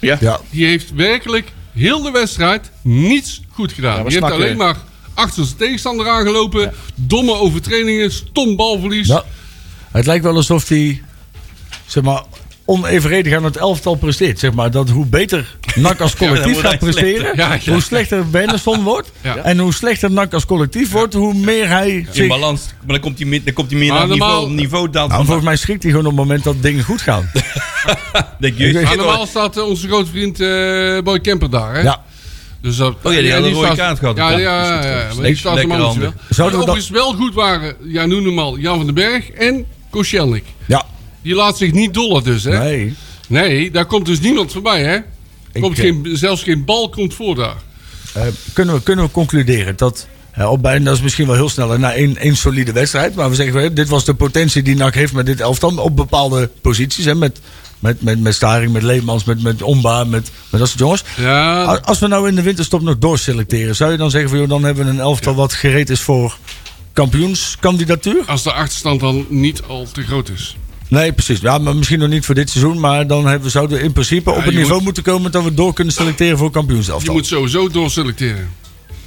Speaker 5: Ja.
Speaker 4: Ja.
Speaker 3: Die heeft werkelijk heel de wedstrijd niets goed gedaan.
Speaker 5: Ja, maar
Speaker 3: die heeft
Speaker 5: snak,
Speaker 3: alleen
Speaker 5: eh.
Speaker 3: maar achter zijn tegenstander aangelopen. Domme overtredingen, stom balverlies.
Speaker 4: Ja. Het lijkt wel alsof hij zeg maar, onevenredig aan het elftal presteert. Zeg maar, dat hoe beter NAC als
Speaker 2: dan
Speaker 4: collectief
Speaker 2: wordt
Speaker 4: gaat
Speaker 2: hij
Speaker 4: presteren,
Speaker 3: slechter. Ja, ja.
Speaker 4: hoe slechter Wernersson wordt.
Speaker 3: Ja.
Speaker 4: En hoe slechter NAC als collectief wordt, hoe meer hij
Speaker 2: in
Speaker 4: zich... Nou,
Speaker 2: balans. Maar dan komt hij, mi- dan komt hij meer
Speaker 3: Maar
Speaker 2: naar het niveau,
Speaker 3: normaal-
Speaker 2: niveau daalt.
Speaker 4: volgens mij schrikt hij gewoon op het moment dat dingen goed gaan.
Speaker 2: denk je,
Speaker 4: Ik weet-
Speaker 3: Maar normaal staat eh, onze grote vriend eh, Boy Kemper daar. Hè?
Speaker 4: Ja.
Speaker 3: Dus dat,
Speaker 2: Oh ja, die
Speaker 3: en
Speaker 2: hadden een rode
Speaker 3: staat-
Speaker 2: kaart gehad.
Speaker 3: Ja,
Speaker 2: Ja,
Speaker 3: ja, ja.
Speaker 2: dus
Speaker 3: ja,
Speaker 2: dat
Speaker 3: maar die
Speaker 2: steekt
Speaker 3: staat
Speaker 2: lekker
Speaker 3: hem anders wel.
Speaker 2: handen.
Speaker 4: Zouden
Speaker 3: Die
Speaker 4: we
Speaker 3: overigens wel goed waren, ja, noem hem al, Jan van den Berg en Koscielnik.
Speaker 4: Ja.
Speaker 3: Die laat zich niet dollen dus, hè? Nee,
Speaker 4: Nee.
Speaker 3: daar komt dus niemand voorbij, hè? Komt
Speaker 4: eh,
Speaker 3: geen, zelfs geen bal komt voor daar.
Speaker 4: Eh, kunnen, we, kunnen we concluderen dat. eh, op bij, en dat is misschien wel heel snel na één, één solide wedstrijd. Maar we zeggen, wel, dit was de potentie die NAC heeft met dit elftal. Op bepaalde posities. Hè, met, met, met, met Staring, met Leemans, met, met Omba, met, met dat soort jongens.
Speaker 3: Ja.
Speaker 4: A- Als we nou in de winterstop nog doorselecteren. Zou je dan zeggen, van, joh, dan hebben we een elftal wat gereed is voor kampioenskandidatuur?
Speaker 3: Als de achterstand dan niet al te groot is.
Speaker 4: Nee, precies. Ja, maar misschien nog niet voor dit seizoen. Maar dan hebben, zouden we in principe op
Speaker 3: je
Speaker 4: het niveau
Speaker 3: moet-
Speaker 4: moeten komen... dat we door kunnen selecteren voor
Speaker 3: Je
Speaker 4: kampioenselftal.
Speaker 3: moet sowieso doorselecteren.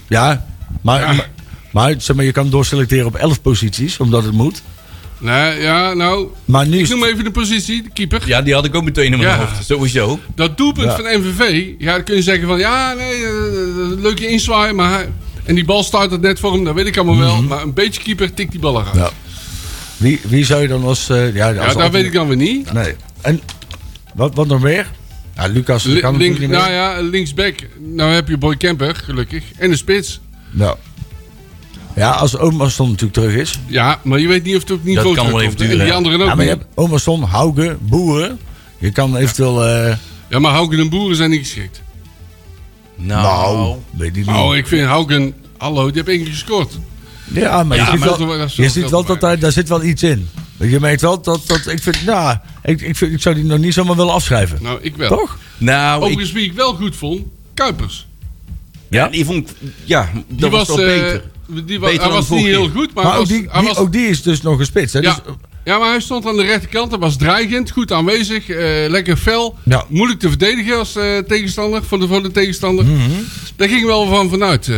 Speaker 4: Ja, maar,
Speaker 3: Ja.
Speaker 4: maar, maar, zeg maar je kan doorselecteren op 11 posities, omdat het moet.
Speaker 3: Nee, ja, nou.
Speaker 4: Maar nu
Speaker 3: Ik
Speaker 4: is
Speaker 3: noem even de positie, de keeper.
Speaker 2: Ja, die had ik ook meteen in mijn
Speaker 3: Ja.
Speaker 2: hoofd. Sowieso.
Speaker 3: Dat doelpunt
Speaker 4: Ja.
Speaker 3: van MVV, ja, dan kun je zeggen van ja, nee, eh, leuke inzwaai, maar hij- en die bal staat het net voor hem, dat weet ik allemaal wel. Maar een beetje keeper tikt die bal eruit.
Speaker 4: Mhm. Ja, wie, wie zou je dan als... eh, ja, als
Speaker 3: Ja, dat
Speaker 4: alternatief-
Speaker 3: weet ik dan weer niet.
Speaker 4: Nee. En wat, wat nog meer? Ja, Lucas
Speaker 3: Li-
Speaker 4: kan
Speaker 3: link-
Speaker 4: natuurlijk niet meer.
Speaker 3: nou ja, linksback. Nou heb je Boy Kemper, gelukkig. En de spits.
Speaker 4: ja. ja, als Omerson natuurlijk terug is.
Speaker 3: Ja, maar je weet niet of het op
Speaker 2: kan
Speaker 3: niveau
Speaker 2: wel
Speaker 3: terugkomt,
Speaker 2: even
Speaker 3: hè.
Speaker 2: duren,
Speaker 3: En die
Speaker 2: hè.
Speaker 3: anderen ook
Speaker 4: Ja, maar je
Speaker 3: niet.
Speaker 4: hebt Omerson, Hauge, Boeren. Je kan eventueel... eh,
Speaker 3: Ja, maar Hauken en Boeren zijn niet geschikt.
Speaker 2: Nou.
Speaker 4: nou, weet ik niet.
Speaker 3: Oh, ik vind Hauken... Hallo, die heb één keer gescoord.
Speaker 4: Ja, maar
Speaker 3: Ja,
Speaker 4: je ziet
Speaker 3: maar
Speaker 4: wel,
Speaker 3: dat is wel- dat is
Speaker 4: je
Speaker 3: wel
Speaker 4: ziet
Speaker 3: veel
Speaker 4: wel
Speaker 3: te
Speaker 4: dat daar, daar zit wel iets in. Je merkt wel dat, dat ik vind, nou, ik, ik, vind, ik zou die nog niet zomaar willen afschrijven.
Speaker 3: Nou, ik wel.
Speaker 4: Toch?
Speaker 2: Nou, ik,
Speaker 3: Overigens, wie ik wel goed vond, Kuipers.
Speaker 2: ja, die vond ik- Ja, dat
Speaker 3: Die
Speaker 2: was,
Speaker 3: was,
Speaker 2: wel
Speaker 3: eh,
Speaker 2: beter.
Speaker 3: Die wa-
Speaker 2: Beter
Speaker 3: hij
Speaker 2: dan
Speaker 3: was
Speaker 2: de vorige
Speaker 3: niet heel
Speaker 2: keer.
Speaker 3: goed, maar,
Speaker 4: Maar,
Speaker 3: hij
Speaker 4: ook,
Speaker 3: was,
Speaker 4: die,
Speaker 3: hij
Speaker 4: die-
Speaker 3: was,
Speaker 4: ook die is dus nog gespitst. Hè?
Speaker 3: ja,
Speaker 4: Dus,
Speaker 3: ja, maar hij stond aan de rechterkant. Hij was dreigend, goed aanwezig, eh, lekker fel.
Speaker 4: Ja.
Speaker 3: Moeilijk te verdedigen als eh, tegenstander, voor de, voor de tegenstander.
Speaker 4: Mhm.
Speaker 3: Daar ging wel van vanuit. eh.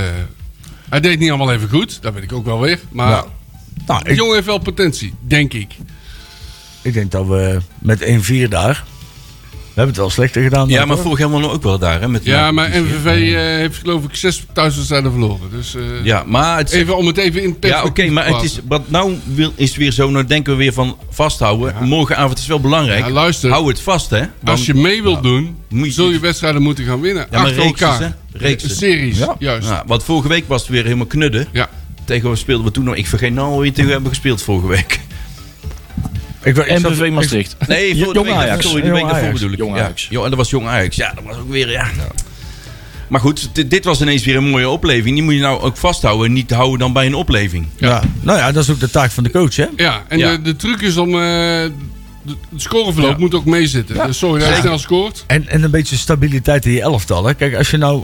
Speaker 3: hij deed niet allemaal even goed, dat weet ik ook wel weer. Maar
Speaker 4: Ja. eh, nou,
Speaker 3: de
Speaker 4: ik,
Speaker 3: jongen heeft wel potentie, denk ik.
Speaker 4: ik denk dat we met 1-4 daar. We hebben het wel slechter gedaan.
Speaker 2: Ja,
Speaker 4: dan,
Speaker 2: maar
Speaker 4: toch?
Speaker 2: vorig jaar wonnen we ook wel daar. Hè, met Dus-
Speaker 3: Ja, maar
Speaker 2: en
Speaker 3: MVV eh, heeft geloof ik zes thuiswedstrijden verloren. Dus eh,
Speaker 2: Ja, maar het
Speaker 3: even om het even in perspectief
Speaker 2: Ja, oké, maar
Speaker 3: te
Speaker 2: het is,
Speaker 3: plaatsen.
Speaker 2: wat nou wil, is het weer zo, nou denken we weer van vasthouden. Morgenavond is wel belangrijk.
Speaker 3: Ja, luister.
Speaker 2: Hou het vast, hè. Want-
Speaker 3: Als je mee wilt doen,
Speaker 2: moet je-
Speaker 3: zul je wedstrijden moeten gaan winnen.
Speaker 2: Ja, maar
Speaker 3: Achter
Speaker 2: reekses,
Speaker 3: elkaar. Eh,
Speaker 2: hè? Reeksen.
Speaker 3: Series,
Speaker 4: Ja.
Speaker 3: juist. Ja.
Speaker 2: Nou, want vorige week was het weer helemaal knudden. Tegen wat speelden we toen nog? Ik vergeet nou wie tegen we hebben gespeeld vorige week.
Speaker 4: ik, wil- ik zat-
Speaker 5: MVV
Speaker 4: ik-
Speaker 5: Maastricht.
Speaker 2: Nee, vorige
Speaker 4: Jong
Speaker 2: week.
Speaker 4: Ajax.
Speaker 2: Sorry, de
Speaker 4: Jong
Speaker 2: week daarvoor
Speaker 4: Ajax.
Speaker 2: bedoel ik.
Speaker 5: Jong
Speaker 2: ja.
Speaker 5: Ajax.
Speaker 2: Jo, en dat was Jong Ajax. Ja, dat was ook weer, ja. Maar goed, dit, dit was ineens weer een mooie opleving. Die moet je nou ook vasthouden en niet houden dan bij een opleving.
Speaker 4: Ja. Nou ja, dat is ook de taak van de coach, hè?
Speaker 3: Ja, en
Speaker 2: Ja.
Speaker 3: De, de truc is om... eh, de- het scoreverloop moet ook meezitten. Dus sorry dat je snel scoort.
Speaker 4: En, en een beetje stabiliteit in je elftal. Hè? Kijk, als je nou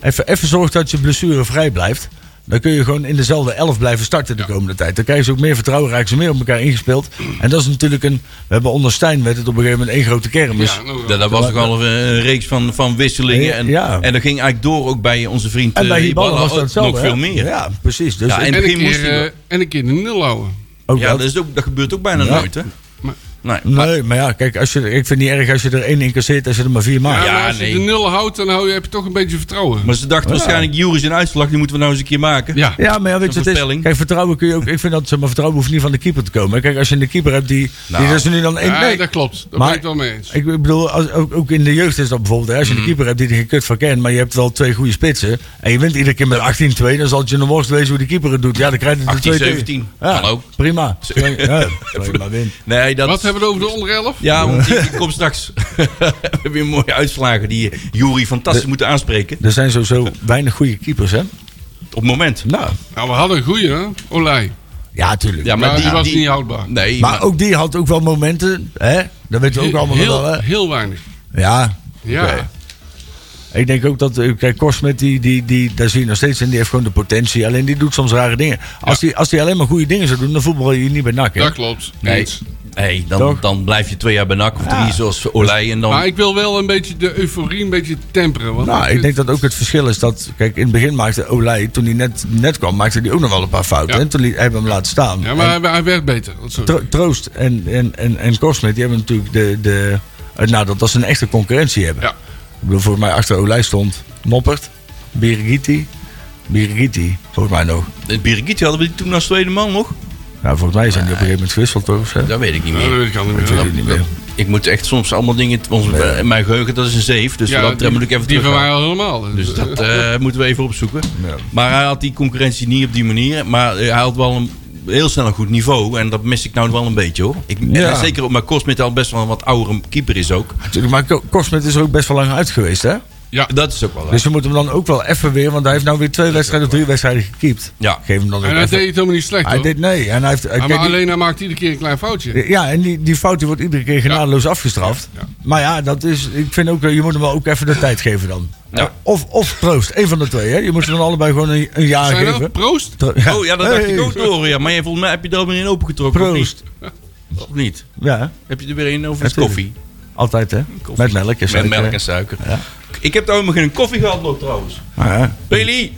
Speaker 4: even, even zorgt dat je blessurevrij blijft. Dan kun je gewoon in dezelfde elf blijven starten de komende tijd. Dan krijgen ze ook meer vertrouwen, raken ze meer op elkaar ingespeeld. En dat is natuurlijk een. We hebben onder Stijn werd het op een gegeven moment één grote kermis.
Speaker 3: Ja, nou,
Speaker 2: Dus Dat, dat was toch al een, een reeks van, van wisselingen. En,
Speaker 4: Ja.
Speaker 2: en dat ging eigenlijk door ook bij onze vriend
Speaker 4: En
Speaker 2: eh,
Speaker 4: bij Hibala
Speaker 2: Hiballa
Speaker 4: was dat
Speaker 2: ook
Speaker 4: hetzelfde.
Speaker 2: Nog
Speaker 4: hè?
Speaker 2: veel meer.
Speaker 4: Ja, precies. Dus
Speaker 2: Ja,
Speaker 4: ik-
Speaker 2: en-
Speaker 3: en, een
Speaker 2: begin moest
Speaker 3: keer,
Speaker 2: hij wel.
Speaker 3: eh, en een keer de nul houden.
Speaker 4: ook
Speaker 2: Ja, dus
Speaker 4: dat.
Speaker 2: dat, is ook, dat gebeurt ook bijna nooit, hè?
Speaker 3: Maar-
Speaker 2: nee.
Speaker 4: Nee, maar ja, kijk, als je, ik vind het niet erg als je er één incasseert als je er maar vier
Speaker 3: Ja,
Speaker 4: maakt.
Speaker 2: ja,
Speaker 3: maar als
Speaker 2: nee.
Speaker 3: je de nul houdt, dan hou je, heb je toch een beetje vertrouwen.
Speaker 2: Maar ze dachten waarschijnlijk, Juris in uitslag, die moeten we nou eens een keer maken.
Speaker 3: ja.
Speaker 4: Ja, maar ja, weet je, wat
Speaker 2: Zo'n
Speaker 4: het is,
Speaker 2: voorspelling.
Speaker 4: kijk, vertrouwen kun je ook. Ik vind dat zeg maar, vertrouwen hoeft niet van de keeper te komen. Kijk, als je een keeper hebt die. die
Speaker 2: Nou.
Speaker 4: is er nu dan één.
Speaker 3: Ja,
Speaker 4: nee.
Speaker 3: dat klopt. Daar
Speaker 4: Maar-
Speaker 3: ben ik wel mee eens.
Speaker 4: Ik bedoel, als, ook, ook in de jeugd is dat bijvoorbeeld. Hè, als
Speaker 2: Mm.
Speaker 4: je een keeper hebt die er geen kut van kent, maar je hebt wel twee goede spitsen. En je wint iedere keer met 18-2, dan zal het je nog worst wezen hoe de keeper het doet. Ja, dan krijg je er
Speaker 2: 18,
Speaker 4: twee tegen.
Speaker 2: 17,
Speaker 4: Ja,
Speaker 2: kan ook.
Speaker 4: Prima. Ja, prima win.
Speaker 2: Nee, dat...
Speaker 3: Wat hebben we het over de onder 11?
Speaker 2: Ja, want die, die komt straks. we hebben weer mooie uitslagen die eh, Jury fantastisch moeten aanspreken.
Speaker 4: Er zijn sowieso weinig goede keepers, hè?
Speaker 2: Op het moment.
Speaker 4: Nou,
Speaker 3: Nou, we hadden een goeie, hè? Olij.
Speaker 4: ja, tuurlijk.
Speaker 2: Ja, maar
Speaker 3: Nou,
Speaker 2: die,
Speaker 3: die was
Speaker 2: die-
Speaker 3: niet houdbaar.
Speaker 2: Nee,
Speaker 4: Maar ook die had ook wel momenten, hè? Dat weten we ook allemaal nog
Speaker 3: heel,
Speaker 4: wel, hè?
Speaker 3: heel weinig.
Speaker 4: Ja.
Speaker 3: Ja.
Speaker 4: Oké. Ik denk ook dat, eh, kijk, Korsmet, die, die, die, daar zie je nog steeds in, die heeft gewoon de potentie. Alleen die doet soms rare dingen. Als, die, als die alleen maar goede dingen zou doen, dan voetbal je niet bij NAC, hè?
Speaker 3: Dat klopt.
Speaker 2: Nee,
Speaker 3: Eens.
Speaker 2: nee dan,
Speaker 4: Toch?
Speaker 2: dan blijf je twee jaar bij NAC of drie, zoals Olij. En dan...
Speaker 3: Maar ik wil wel een beetje de euforie een beetje temperen. Want
Speaker 4: Nou, ik denk dat ook het verschil is dat... Kijk, in het begin maakte Olij, toen hij net, net kwam, maakte hij ook nog wel een paar fouten.
Speaker 3: Ja.
Speaker 4: En toen liet- hebben we hem laten staan.
Speaker 3: Ja,
Speaker 4: En
Speaker 3: maar hij, hij werkt beter. Oh, Dat is zo.
Speaker 4: Tro- Troost en, en, en, en Korsmet, die hebben natuurlijk de, de, het nadeel dat ze een echte concurrentie hebben.
Speaker 3: Ja.
Speaker 4: Ik bedoel, volgens mij achter Olij stond Noppert, Birgiti, Birgiti, volgens mij nog.
Speaker 2: Het Eh, Birgit hadden we die toen als tweede man nog?
Speaker 4: Nou, volgens mij zijn die op een gegeven moment gewisseld, toch? of zo?
Speaker 2: Dat weet ik niet
Speaker 3: Ja, dat
Speaker 2: meer.
Speaker 3: weet ik al niet
Speaker 4: Ik weet
Speaker 3: meer.
Speaker 4: het niet meer.
Speaker 2: ik moet echt soms allemaal dingen. Ons, in mijn geheugen, dat is een zeef. Dus dat
Speaker 3: die,
Speaker 2: betreft moet ik even
Speaker 3: die van
Speaker 2: teruggaan.
Speaker 3: mij al helemaal. Dus,
Speaker 2: Dus dat eh, moeten we even opzoeken.
Speaker 4: Ja.
Speaker 2: Maar hij had die concurrentie niet op die manier. Maar eh, hij had wel een, heel snel een goed niveau. En dat mis ik nou wel een beetje hoor. Ik, en
Speaker 4: Ja.
Speaker 2: Zeker omdat Kosmit al best wel een wat oudere keeper is ook.
Speaker 4: Natuurlijk, maar Ko- Kosmet is er ook best wel lang uit geweest, hè?
Speaker 3: ja,
Speaker 2: Dat is ook wel leuk.
Speaker 4: Dus je moet hem dan ook wel even weer, want hij heeft nou weer twee wedstrijden of drie wedstrijden gekiept.
Speaker 2: Ja.
Speaker 4: Geef hem dan ook
Speaker 3: en hij
Speaker 4: even.
Speaker 3: deed het helemaal niet slecht,
Speaker 4: hij
Speaker 3: hoor.
Speaker 4: deed nee. En hij heeft,
Speaker 3: Maar,
Speaker 4: kijk, die-
Speaker 3: alleen hij maakt iedere keer een klein foutje.
Speaker 4: Ja, en die, die fout die wordt iedere keer genadeloos afgestraft.
Speaker 3: Ja, ja.
Speaker 4: Maar ja, dat is, ik vind ook, eh, je moet hem wel ook even de tijd geven dan.
Speaker 2: Ja.
Speaker 4: Of, of troost, één van de twee. Hè. Je moet ze dan allebei gewoon een, een jaar
Speaker 3: Zijn nou?
Speaker 4: geven.
Speaker 3: dat? Proost?
Speaker 4: Tro-
Speaker 2: Oh ja, dat dacht ik
Speaker 4: Hey.
Speaker 2: ook door. Ja. Maar jij, volgens mij heb je er weer een opengetrokken.
Speaker 4: Proost.
Speaker 2: Of niet? Of niet?
Speaker 4: Ja,
Speaker 2: Heb je er weer een over
Speaker 4: Ja,
Speaker 2: de koffie?
Speaker 4: altijd hè.
Speaker 2: Koffie.
Speaker 4: Met melk. Is
Speaker 2: Met melk en suiker. Ik heb daar helemaal geen koffie gehad nog trouwens.
Speaker 4: Ah,
Speaker 2: Peli,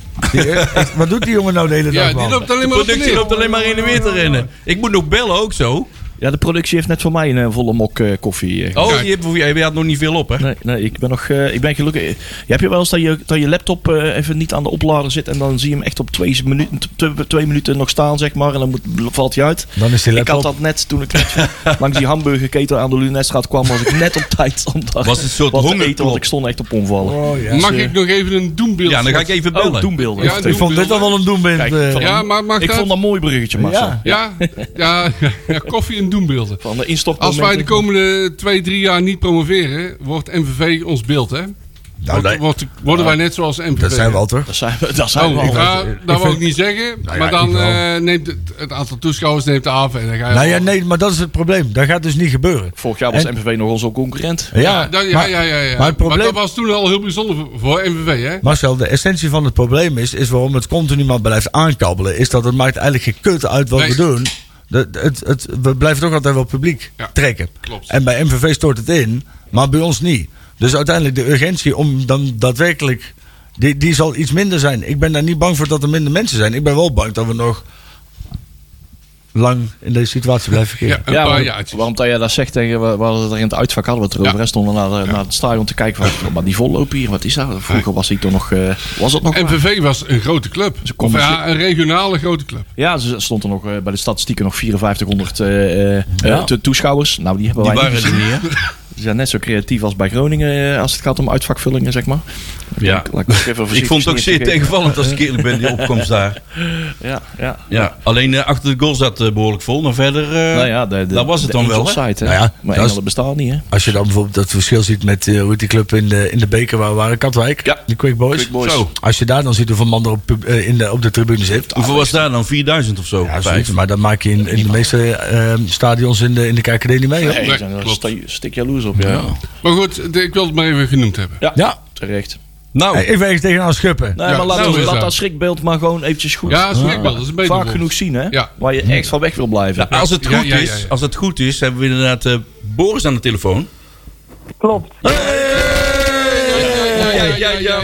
Speaker 4: wat doet die jongen nou de hele dag?
Speaker 3: Ja, die
Speaker 4: man?
Speaker 3: loopt alleen
Speaker 2: de
Speaker 3: maar op en
Speaker 2: productie
Speaker 3: neer.
Speaker 2: loopt alleen maar in de weer te rennen. Ik moet nog bellen ook zo.
Speaker 5: Ja, de productie heeft net voor mij een eh, volle mok eh, koffie. eh,
Speaker 2: Oh,
Speaker 3: Kijk.
Speaker 2: je, hebt, je, had nog niet veel op hè?
Speaker 5: Nee, nee, ik ben nog, eh, ik ben gelukkig. Je hebt je wel eens dat je, dat je laptop eh, even niet aan de oplader zit en dan zie je hem echt op twee minuten, tw- twee minuten nog staan, zeg maar, en dan moet, valt hij uit.
Speaker 4: Dan is die
Speaker 5: Ik had
Speaker 4: laptop.
Speaker 5: dat net toen ik net langs die hamburgerketen aan de Lunetstraat kwam, was ik net op tijd om daar
Speaker 2: Was het een soort
Speaker 5: wat te
Speaker 2: hongerklop?
Speaker 5: eten, want ik stond echt op omvallen.
Speaker 4: Oh, ja.
Speaker 3: Mag
Speaker 5: eh,
Speaker 3: ik nog even een doembeeld?
Speaker 2: Ja, dan ga ik even bellen.
Speaker 5: Oh, doembeelden.
Speaker 3: Ja,
Speaker 4: Ik vond dit al wel een doembeeld.
Speaker 5: Kijk,
Speaker 4: eh.
Speaker 5: van-
Speaker 3: Ja, maar mag
Speaker 5: ik
Speaker 3: dat?
Speaker 5: vond dat een mooi bruggetje, Marcel.
Speaker 4: Ja.
Speaker 3: Ja, ja, ja, koffie en doembeelden.
Speaker 5: Van de instapmomenten.
Speaker 3: Als wij de komende twee, drie jaar niet promoveren, wordt MVV ons beeld, hè?
Speaker 4: Nou,
Speaker 3: Wordt-
Speaker 4: nee,
Speaker 3: wordt- worden wij net zoals MVV.
Speaker 4: dat zijn we al toch?
Speaker 5: Dat zijn we, dat zijn we
Speaker 3: Oh,
Speaker 5: al.
Speaker 3: ja,
Speaker 4: Nou, ik
Speaker 3: dat wil
Speaker 4: vind-
Speaker 3: ik niet zeggen.
Speaker 4: Nou ja,
Speaker 3: maar
Speaker 4: ik
Speaker 3: dan
Speaker 4: wel.
Speaker 3: eh, neemt het, het aantal toeschouwers neemt af. En dan ga je
Speaker 4: Nou
Speaker 3: al-
Speaker 4: ja, nee, maar dat is het probleem. Dat gaat dus niet gebeuren.
Speaker 5: Vorig jaar was MVV nog onze concurrent.
Speaker 4: Ja,
Speaker 3: dan- ja,
Speaker 4: maar-
Speaker 3: ja, ja, ja.
Speaker 4: maar het probleem-
Speaker 3: dat was toen al heel bijzonder voor- voor MVV, hè?
Speaker 4: Marcel, de essentie van het probleem is, is waarom het continu maar blijft aankabbelen, is dat het maakt eigenlijk geen kut uit wat
Speaker 3: Nee.
Speaker 4: we doen. De- de- het, het, we blijven toch altijd wel publiek
Speaker 3: Ja,
Speaker 4: trekken.
Speaker 3: klopt.
Speaker 4: En bij MVV stort het in, maar bij ons niet. Dus uiteindelijk de urgentie om dan daadwerkelijk, die, die zal iets minder zijn. Ik ben daar niet bang voor dat er minder mensen zijn. Ik ben wel bang dat we nog lang in deze situatie blijven
Speaker 3: Ja,
Speaker 4: verkeren.
Speaker 3: een
Speaker 5: waarom-
Speaker 3: paar jaartjes.
Speaker 5: waarom dat jij dat zegt, tegen, we, we hadden het er in het uitvak hadden we het erover.
Speaker 3: Ja.
Speaker 5: hè, Stonden we naar, de- naar het stadion te kijken van, "Oh, maar die vollopen hier, wat is dat? Vroeger was hij toch nog, eh, was dat nog? waar?
Speaker 3: MVV was een grote club. Of
Speaker 5: konden
Speaker 3: ja, een regionale grote club.
Speaker 5: Ja, ze stond er nog eh, bij de statistieken nog 5400 eh, eh, te- toeschouwers. Nou, die hebben
Speaker 2: Die
Speaker 5: wij
Speaker 2: waren er niet hè?
Speaker 5: Ze zijn net zo creatief als bij Groningen eh, als het gaat om uitvakvullingen, zeg maar.
Speaker 2: Ja.
Speaker 5: Laat ik, nog even
Speaker 2: Ik
Speaker 5: voorzichtig
Speaker 2: vond het ook zeer
Speaker 5: neergeven.
Speaker 2: tegenvallend als ik eerlijk ben, die opkomst daar.
Speaker 5: Ja, ja.
Speaker 2: Ja, alleen eh, achter de goal zat eh, behoorlijk vol. Maar verder, eh
Speaker 5: Nou ja, de, de,
Speaker 2: dat was het
Speaker 5: de
Speaker 2: dan wel. hè?
Speaker 5: Angels site, hè?
Speaker 4: Nou ja, dat
Speaker 5: maar
Speaker 4: is-
Speaker 5: Engeland bestaat niet, hè?
Speaker 4: Als je dan bijvoorbeeld dat verschil ziet met eh, hoe heet die club in de, in de beker waar we waren, Katwijk,
Speaker 5: Ja.
Speaker 4: die Quick Boys.
Speaker 5: Quick Boys.
Speaker 2: Zo.
Speaker 4: Als je daar dan ziet hoeveel man er op, pub- eh, in de, op de tribune zit. Ah,
Speaker 2: Hoeveel was daar dan? 4000 of zo?
Speaker 4: Ja,
Speaker 2: Vijf.
Speaker 4: zoiets, maar dat maak je in, in de meeste ehm, stadions in de, in de KKD niet mee. Hoor.
Speaker 5: Nee,
Speaker 3: Nee,
Speaker 5: daar zijn er
Speaker 3: klopt.
Speaker 5: sta- stik jaloers op, ja. Ja,
Speaker 3: Maar goed, de- ik wil het maar even genoemd hebben.
Speaker 4: Ja.
Speaker 5: terecht.
Speaker 2: Nou,
Speaker 4: Hey, even ergens tegenaan schuppen.
Speaker 5: Nee,
Speaker 3: Ja,
Speaker 5: maar laat,
Speaker 3: nou
Speaker 5: ons-
Speaker 3: is
Speaker 5: laat
Speaker 3: dat.
Speaker 5: dat schrikbeeld maar gewoon eventjes goed.
Speaker 3: Ja, schrikbeeld, dat is een beter
Speaker 5: Vaak
Speaker 3: woord.
Speaker 5: genoeg zien, hè?
Speaker 3: Ja.
Speaker 5: Waar je echt van weg wil blijven.
Speaker 2: als het
Speaker 3: Ja,
Speaker 2: goed
Speaker 3: ja, ja,
Speaker 2: is,
Speaker 3: ja.
Speaker 2: als het goed is, hebben we inderdaad eh, Boris aan de telefoon.
Speaker 7: Klopt.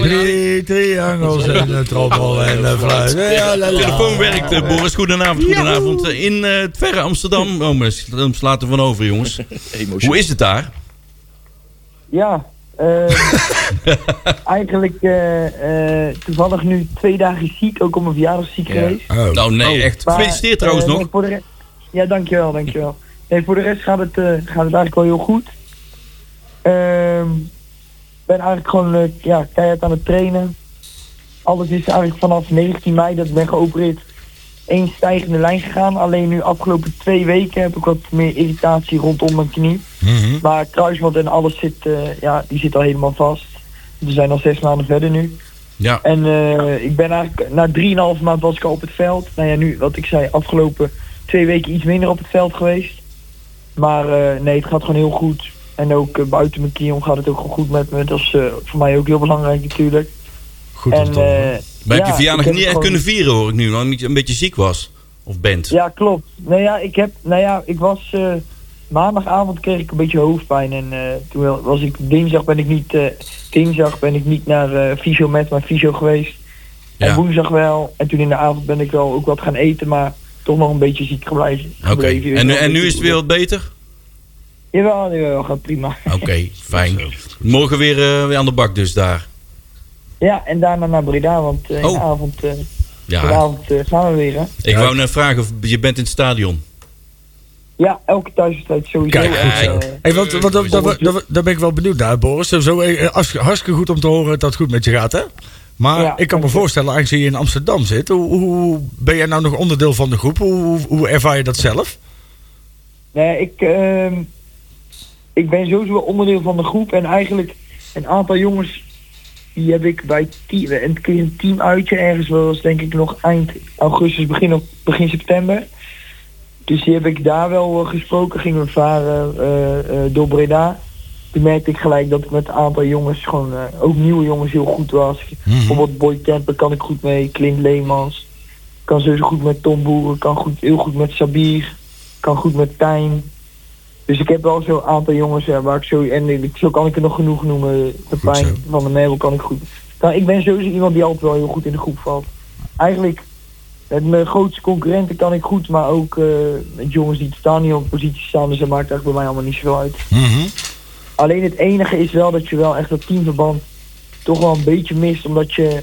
Speaker 4: Drie triangels en een trommel en een fluit. Ja, la, la.
Speaker 2: Telefoon werkt, eh, Boris. Goedenavond, goedenavond. Eh, In eh, het verre Amsterdam. Oh, maar Amsterdam slaat er van over, jongens. Hoe
Speaker 5: Emotioneel.
Speaker 2: is het daar?
Speaker 7: Ja, eh, eigenlijk eh, eh, toevallig nu twee dagen ziek, ook om mijn verjaardag ziek geweest.
Speaker 4: Oh.
Speaker 2: Nou, nee, echt.
Speaker 7: Maar,
Speaker 2: Gefeliciteerd trouwens
Speaker 7: eh, nee,
Speaker 2: nog.
Speaker 7: Voor de re- ja, dankjewel, dankjewel. Nee, voor de rest gaat het, eh, gaat het eigenlijk wel heel goed. Ehm, Ik ben eigenlijk gewoon eh, ja, keihard aan het trainen. Alles is eigenlijk vanaf 19 mei dat ik ben geopereerd één stijgende lijn gegaan. Alleen nu afgelopen twee weken heb ik wat meer irritatie rondom mijn knie.
Speaker 2: Mhm.
Speaker 7: Maar kruisband en alles zit, eh, ja, die zit al helemaal vast. We zijn al zes maanden verder nu.
Speaker 2: Ja.
Speaker 7: En eh, ik ben eigenlijk, na 3,5 maand was ik al op het veld. Nou ja, nu, wat ik zei, afgelopen twee weken iets minder op het veld geweest. Maar eh, nee, het gaat gewoon heel goed. En ook eh, buiten mijn knie om gaat het ook gewoon goed met me. Dat is eh, voor mij ook heel belangrijk natuurlijk.
Speaker 4: Goed
Speaker 7: en,
Speaker 4: om te horen.
Speaker 7: eh,
Speaker 2: Maar heb
Speaker 7: ja,
Speaker 2: je verjaardag
Speaker 7: ik
Speaker 2: niet
Speaker 7: heb
Speaker 2: echt
Speaker 7: het gewoon-
Speaker 2: kunnen vieren, hoor ik nu. Omdat je een beetje ziek was. Of bent.
Speaker 7: Ja, klopt. Nou ja, ik heb, nou ja, ik was eh, maandagavond kreeg ik een beetje hoofdpijn en eh, toen was ik dinsdag ben ik niet, eh, dinsdag ben ik niet naar eh fysio met mijn fysio geweest.
Speaker 2: Ja.
Speaker 7: En woensdag wel. En toen in de avond ben ik wel ook wat gaan eten, maar toch nog een beetje ziek gebleven.
Speaker 2: Oké. En, nu- en nu is het weer Oh. wat beter?
Speaker 7: Jawel, jawel, gaat prima.
Speaker 2: Oké, fijn. Morgen weer, eh, weer aan de bak dus daar.
Speaker 7: Ja, en daarna naar Breda, want eh, in
Speaker 2: Oh.
Speaker 7: de avond, eh,
Speaker 2: Ja,
Speaker 7: vanavond eh, gaan we weer hè.
Speaker 2: ik wou net vragen of je bent in het stadion.
Speaker 7: Ja, elke thuiswedstrijd sowieso.
Speaker 4: Kijk,
Speaker 7: En,
Speaker 4: goed
Speaker 7: eh,
Speaker 4: Hey, want, want, dat- dat- dat- daar ben ik wel benieuwd naar, Boris. Zo, eh, hartst- hartstikke goed om te horen dat het goed met je gaat, hè? Maar
Speaker 7: Ja,
Speaker 4: ik kan
Speaker 7: dank
Speaker 4: me
Speaker 7: je.
Speaker 4: voorstellen, aangezien je in Amsterdam zit, hoe, hoe ben jij nou nog onderdeel van de groep? Hoe, hoe, hoe ervaar je dat zelf?
Speaker 7: Nee, Nou ik, ehm, ik ben sowieso wel onderdeel van de groep. En eigenlijk een aantal jongens, die heb ik bij team, een keer een teamuitje ergens wel eens, denk ik nog eind augustus, begin, op, begin september. Dus die heb ik daar wel eh, gesproken, gingen we varen eh, eh, door Breda. Toen merkte ik gelijk dat ik met een aantal jongens, gewoon eh, ook nieuwe jongens, heel goed was. Bijvoorbeeld Boy Temper kan ik goed mee, Clint Leemans. Kan sowieso goed met Tom Boeren, kan goed, heel goed met Sabir kan goed met Tijn. Dus ik heb wel zo'n aantal jongens eh, waar ik zo... En ik- zo kan ik er nog genoeg noemen. De
Speaker 4: zo.
Speaker 7: pijn van de Mabel kan ik goed. Nou, ik ben sowieso iemand die altijd wel heel goed in de groep valt. Eigenlijk, met mijn grootste concurrenten kan ik goed. Maar ook eh, met jongens die staan niet op positie staan. Dus dat maakt eigenlijk bij mij allemaal niet zoveel uit. Alleen het enige is wel dat je wel echt dat teamverband toch wel een beetje mist. Omdat je...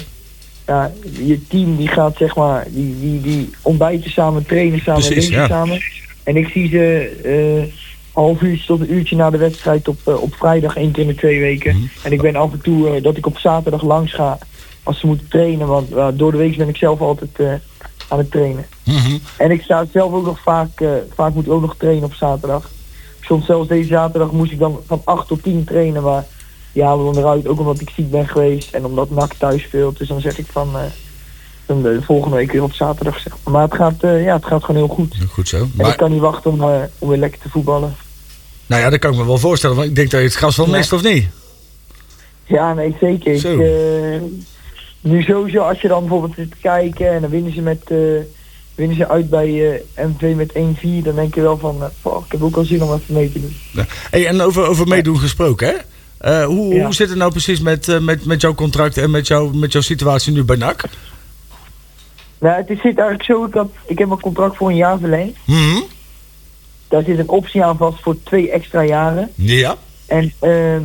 Speaker 7: Ja, je team die gaat zeg maar, die, die, die ontbijten samen, trainen samen,
Speaker 4: Precies,
Speaker 7: lunchen
Speaker 4: ja.
Speaker 7: samen. En ik zie ze eh half uurtje tot een uurtje na de wedstrijd op, eh, op vrijdag één keer in de twee weken.
Speaker 4: Mhm.
Speaker 7: En ik ben af en toe eh, dat ik op zaterdag langs ga als ze moeten trainen. Want eh, door de week ben ik zelf altijd eh, aan het trainen.
Speaker 4: Mhm.
Speaker 7: En ik sta zelf ook nog vaak, eh, vaak moet ik ook nog trainen op zaterdag. Soms zelfs deze zaterdag moest ik dan van 8 tot 10 trainen, maar die halen we dan eruit. Ook omdat ik ziek ben geweest en omdat NAC thuis speelt. Dus dan zeg ik van eh, dan de volgende week weer op zaterdag. Zeg maar. maar het gaat, eh, ja, het gaat gewoon heel goed.
Speaker 4: Goed zo.
Speaker 7: En
Speaker 4: Maar,
Speaker 7: ik kan niet wachten om, eh, om weer lekker te voetballen.
Speaker 4: nou ja, dat kan ik me wel voorstellen, want ik denk dat je het gras wel
Speaker 7: Ja.
Speaker 4: mist, of niet?
Speaker 7: Ja, nee, zeker. Ik,
Speaker 4: Zo.
Speaker 7: eh, nu sowieso, als je dan bijvoorbeeld zit te kijken en dan winnen ze, met, eh, winnen ze uit bij eh MV met 1-4, dan denk je wel van, eh, fuck, ik heb ook al zin om even mee te doen.
Speaker 4: Hey, en over, over meedoen gesproken, hè? Eh, hoe,
Speaker 7: Ja.
Speaker 4: hoe zit het nou precies met, eh, met, met jouw contract en met, jou, met jouw situatie nu bij NAC?
Speaker 7: Nou, het is- zit eigenlijk zo, ik, had, ik heb mijn contract voor een jaar verlengd.
Speaker 4: Mhm.
Speaker 7: Daar zit een optie aan vast voor twee extra jaren.
Speaker 4: Ja.
Speaker 7: En ehm,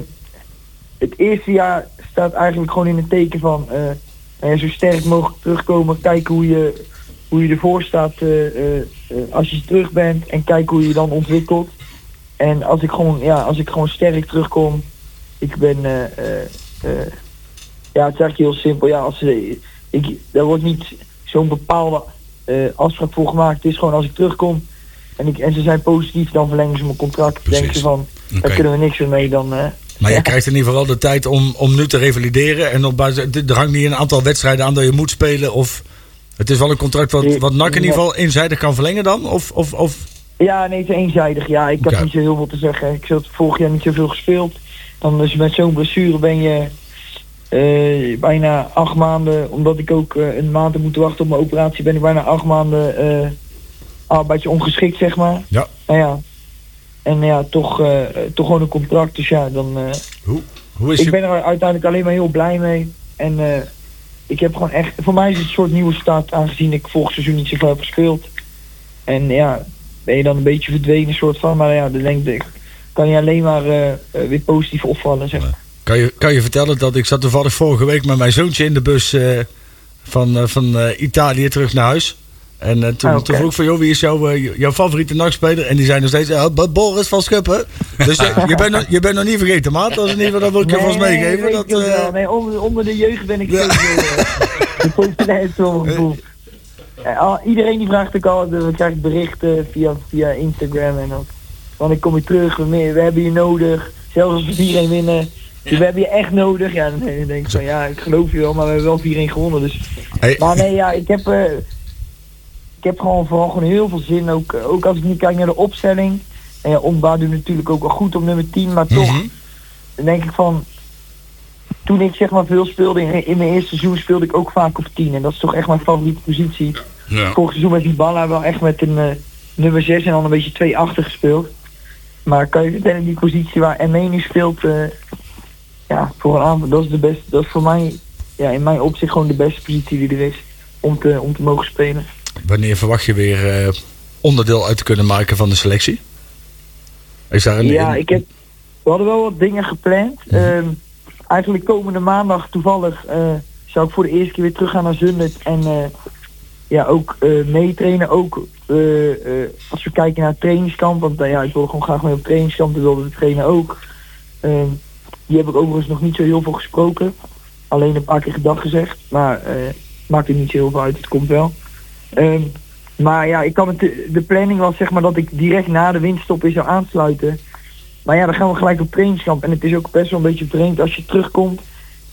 Speaker 7: het eerste jaar staat eigenlijk gewoon in het teken van eh, nou ja, zo sterk mogelijk terugkomen. Kijken hoe je, hoe je ervoor staat eh, eh, eh, als je terug bent en kijken hoe je je dan ontwikkelt. En als ik gewoon, ja, als ik gewoon sterk terugkom, ik ben, eh, eh, eh, ja, het is eigenlijk heel simpel. Ja, als, eh, ik, daar wordt niet zo'n bepaalde eh, afspraak voor gemaakt. Het is gewoon als ik terugkom en, ik, en ze zijn positief, dan verlengen ze mijn contract.
Speaker 4: Precies.
Speaker 7: Denken ze van, daar kunnen we niks meer mee dan. eh,
Speaker 4: Maar jij krijgt in ieder geval wel de tijd om, om nu te revalideren. En op basis, dit- er hangt niet een aantal wedstrijden aan dat je moet spelen. Of het is wel een contract wat, wat NAC in ieder geval eenzijdig kan verlengen dan? Of, of, of
Speaker 7: Ja, nee, het is eenzijdig. Ja, ik
Speaker 4: Oké.
Speaker 7: had niet zo heel veel te zeggen. Ik had vorig jaar niet zoveel gespeeld. Dan dus met zo'n blessure ben je eh, bijna acht maanden, omdat ik ook eh, een maand heb moeten wachten op mijn operatie, ben ik bijna acht maanden eh arbeidsongeschikt, zeg maar.
Speaker 4: Ja.
Speaker 7: Nou ja. En ja, toch, eh, toch gewoon een contract. Dus ja, dan... eh,
Speaker 4: hoe is
Speaker 7: ik
Speaker 4: je...
Speaker 7: ben er uiteindelijk alleen maar heel blij mee. En eh, ik heb gewoon echt... Voor mij is het een soort nieuwe start, aangezien ik vorig seizoen niet zoveel heb gespeeld. En ja, ben je dan een beetje verdwenen soort van. Maar ja, dan denk ik, kan je alleen maar eh, eh, weer positief opvallen, zeg maar.
Speaker 4: Kan, je, kan je vertellen dat ik zat toevallig vorige week met mijn zoontje in de bus eh, van, eh, van eh, Italië terug naar huis. En eh, toen,
Speaker 7: Ah, oké.
Speaker 4: toen vroeg ik van, joh, wie is jouw, eh, jouw favoriete nachtspeler? En die zijn nog steeds, eh, Bo- Boris van Schuppen. Dus eh, je, bent nog, je bent nog niet vergeten, maat. Dat is in ieder geval, dat wil ik je vast meegeven.
Speaker 7: weet
Speaker 4: Dat,
Speaker 7: ik ook
Speaker 4: eh,
Speaker 7: wel. nee onder, onder de jeugd ben ik zo de populairste voor mijn gevoel. Eh, al- iedereen die vraagt ook al, we krijgen berichten via, via Instagram en ook. Van ik kom je terug, we, me- we hebben je nodig. Zelfs als we 4-1 winnen. Dus We hebben je echt nodig. Ja, dan denk ik van ja, ik geloof je wel, maar we hebben wel 4-1 gewonnen. Dus
Speaker 4: hey,
Speaker 7: maar nee, ja, ik heb, eh, ik heb gewoon vooral gewoon heel veel zin. Ook, eh, ook als ik nu kijk naar de opstelling. En ja, Omba doet natuurlijk ook wel goed op nummer 10. Maar toch
Speaker 4: Mhm.
Speaker 7: denk ik van... Toen ik zeg maar veel speelde, in, in mijn eerste seizoen speelde ik ook vaak op 10. En dat is toch echt mijn favoriete positie.
Speaker 2: Ja.
Speaker 7: Vorig seizoen met die Balla wel echt met een eh, nummer 6 en dan een beetje 2 achter gespeeld. Maar kan je vertellen, die positie waar Emme nu speelt, eh, ja, voor een aanval, dat is de beste, dat is voor mij, ja, in mijn opzicht gewoon de beste positie die er is om te, om te mogen spelen.
Speaker 4: Wanneer verwacht je weer eh, onderdeel uit te kunnen maken van de selectie? Is daar een,
Speaker 7: ja,
Speaker 4: een-
Speaker 7: ik heb, we hadden wel wat dingen gepland. Ehm, eigenlijk komende maandag toevallig eh, zou ik voor de eerste keer weer terug gaan naar Zundert en eh, ja, ook eh meetrainen. Ook eh, eh, als we kijken naar het trainingskamp, want eh, ja, ik wilde gewoon graag mee op trainingskamp, dat wilde de trainer ook. Ehm, die heb ik overigens nog niet zo heel veel gesproken. Alleen een paar keer gedag gezegd, maar eh, maakt er niet zo heel veel uit, het komt wel. Ehm, maar ja, ik kan het, de planning was zeg maar dat ik direct na de winterstop weer zou aansluiten. Maar ja, dan gaan we gelijk op trainingskamp. En het is ook best wel een beetje vreemd als je terugkomt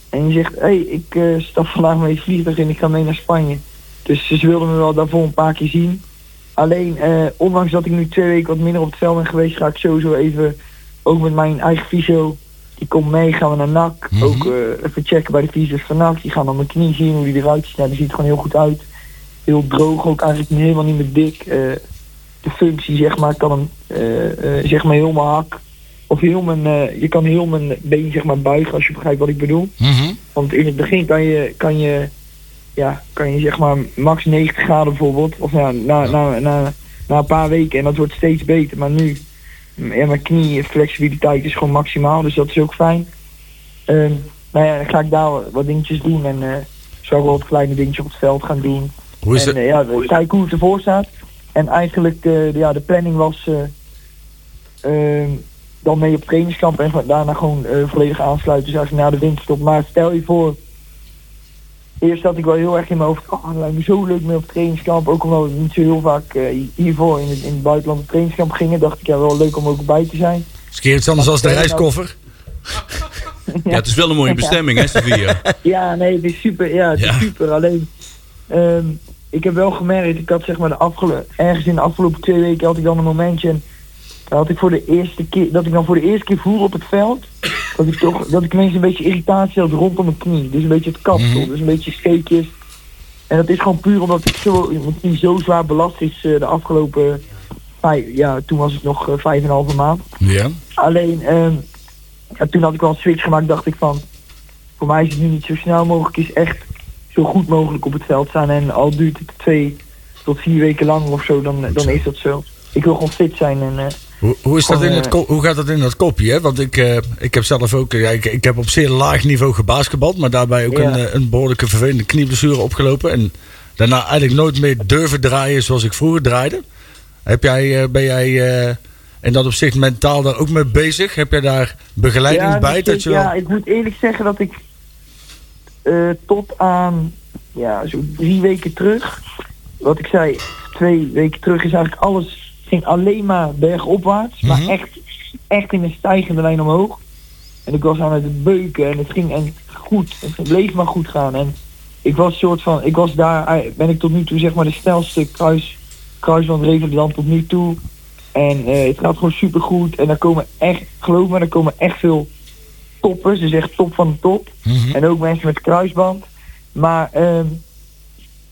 Speaker 7: en je zegt, hé, hey, ik eh, stap vandaag mee het vliegtuig in, ik ga mee naar Spanje. Dus ze wilden me wel daarvoor een paar keer zien. Alleen, eh, ondanks dat ik nu twee weken wat minder op het veld ben geweest, ga ik sowieso even, ook met mijn eigen fysio, die komt mee, gaan we naar NAC. Ook eh, even checken bij de fysio's van NAC. Die gaan dan mijn knie zien, hoe die eruit ziet. Nou, die ziet er gewoon heel goed uit. Heel droog, ook eigenlijk niet- helemaal niet meer dik. Eh, de functie, zeg maar, kan hem, eh, eh, zeg maar, heel mijn hak. Of heel mijn, eh, je kan heel mijn been, zeg maar, buigen, als je begrijpt wat ik bedoel. Want in het begin kan je, kan je, ja, kan je zeg maar max 90 graden bijvoorbeeld. Of nou, na, na, na, na een paar weken en dat wordt steeds beter. Maar nu, m- ja, mijn knieflexibiliteit is gewoon maximaal, dus dat is ook fijn. Ehm, nou ja, dan ga ik daar wat- wat dingetjes doen en eh zal ik wel wat kleine dingetjes op het veld gaan doen.
Speaker 8: Hoe is
Speaker 7: en
Speaker 8: het?
Speaker 7: eh, ja, we- kijken hoe het ervoor staat. En eigenlijk, eh, de- ja, de planning was eh, ehm, dan mee op trainingskamp en van- daarna gewoon eh, volledig aansluiten. Dus eigenlijk na de winterstop. Maar stel je voor, eerst had ik wel heel erg in mijn hoofd, oh, het lijkt me zo leuk mee op trainingskamp. Ook omdat we niet zo heel vaak eh, hiervoor in het, in het buitenland op trainingskamp gingen, dacht ik ja wel leuk om ook bij te zijn.
Speaker 4: Skeert het anders als de reiskoffer?
Speaker 2: Ja, het is wel een mooie bestemming, hè, Sevilla.
Speaker 7: Ja, nee, het is super. Ja, het
Speaker 2: Ja.
Speaker 7: is super. Alleen, ehm, ik heb wel gemerkt, ik had zeg maar de afgelo- ergens in de afgelopen twee weken had ik dan een momentje en dan had ik voor de eerste keer, dat ik dan voor de eerste keer voelde op het veld, dat ik toch, dat ik ineens een beetje irritatie had rondom mijn knie. Dus een beetje het kapsel, dus een beetje scheetjes. En dat is gewoon puur omdat ik zo, mijn knie zo zwaar belast is eh, de afgelopen, vijf, ja, toen was het nog eh, vijf en een halve maand.
Speaker 4: Ja.
Speaker 7: Alleen, ehm, ja, toen had ik wel een switch gemaakt, dacht ik van, voor mij is het nu niet zo snel mogelijk, is echt zo goed mogelijk op het veld staan. En al duurt het twee tot vier weken lang of zo, dan, dan is dat zo. Ik wil gewoon fit zijn en eh,
Speaker 4: Hoe, hoe, is dat
Speaker 7: Gewoon,
Speaker 4: in het,
Speaker 7: eh,
Speaker 4: ko- hoe gaat dat in dat kopje? Hè? Want ik, eh, ik heb zelf ook. eh, Ja, ik, ik heb op zeer laag niveau gebasketbald. Maar daarbij ook
Speaker 7: Ja.
Speaker 4: een, eh, een behoorlijke vervelende knieblessure opgelopen. En daarna eigenlijk nooit meer durven draaien zoals ik vroeger draaide. Heb jij, eh, ben jij eh, in dat opzicht mentaal daar ook mee bezig? Heb jij daar begeleiding
Speaker 7: ja,
Speaker 4: bij?
Speaker 7: dus
Speaker 4: Dat
Speaker 7: ik-
Speaker 4: je wel-
Speaker 7: ja, ik moet eerlijk zeggen dat ik eh, tot aan ja, zo drie weken terug, wat ik zei, twee weken terug is eigenlijk alles ging alleen maar bergopwaarts, maar echt, echt in een stijgende lijn omhoog. En ik was aan het beuken en het ging en goed, het bleef maar goed gaan. En ik was soort van, ik was daar, eh, ben ik tot nu toe zeg maar de snelste kruis, kruisband Revenland tot nu toe. En eh, het gaat gewoon super goed. En daar komen echt, geloof me, daar komen echt veel toppers. Dus echt top van de top. En ook mensen met kruisband. Maar ehm,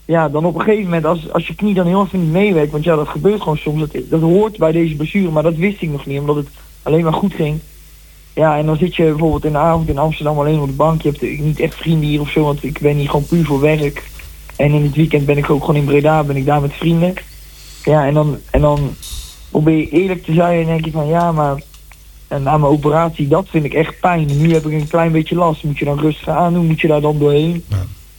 Speaker 7: ja, dan op een gegeven moment, als, als je knie dan heel even niet meewerkt, want ja, dat gebeurt gewoon soms. Dat, dat hoort bij deze blessure, maar dat wist ik nog niet, omdat het alleen maar goed ging. Ja, en dan zit je bijvoorbeeld in de avond in Amsterdam alleen op de bank. Je hebt eh, niet echt vrienden hier of zo, want ik ben hier gewoon puur voor werk. En in het weekend ben ik ook gewoon in Breda, ben ik daar met vrienden. Ja, en dan, en dan probeer je eerlijk te zijn en denk je van ja, maar en na mijn operatie, dat vind ik echt pijn. Nu heb ik een klein beetje last. Moet je dan rustig aan doen? Moet je daar dan doorheen?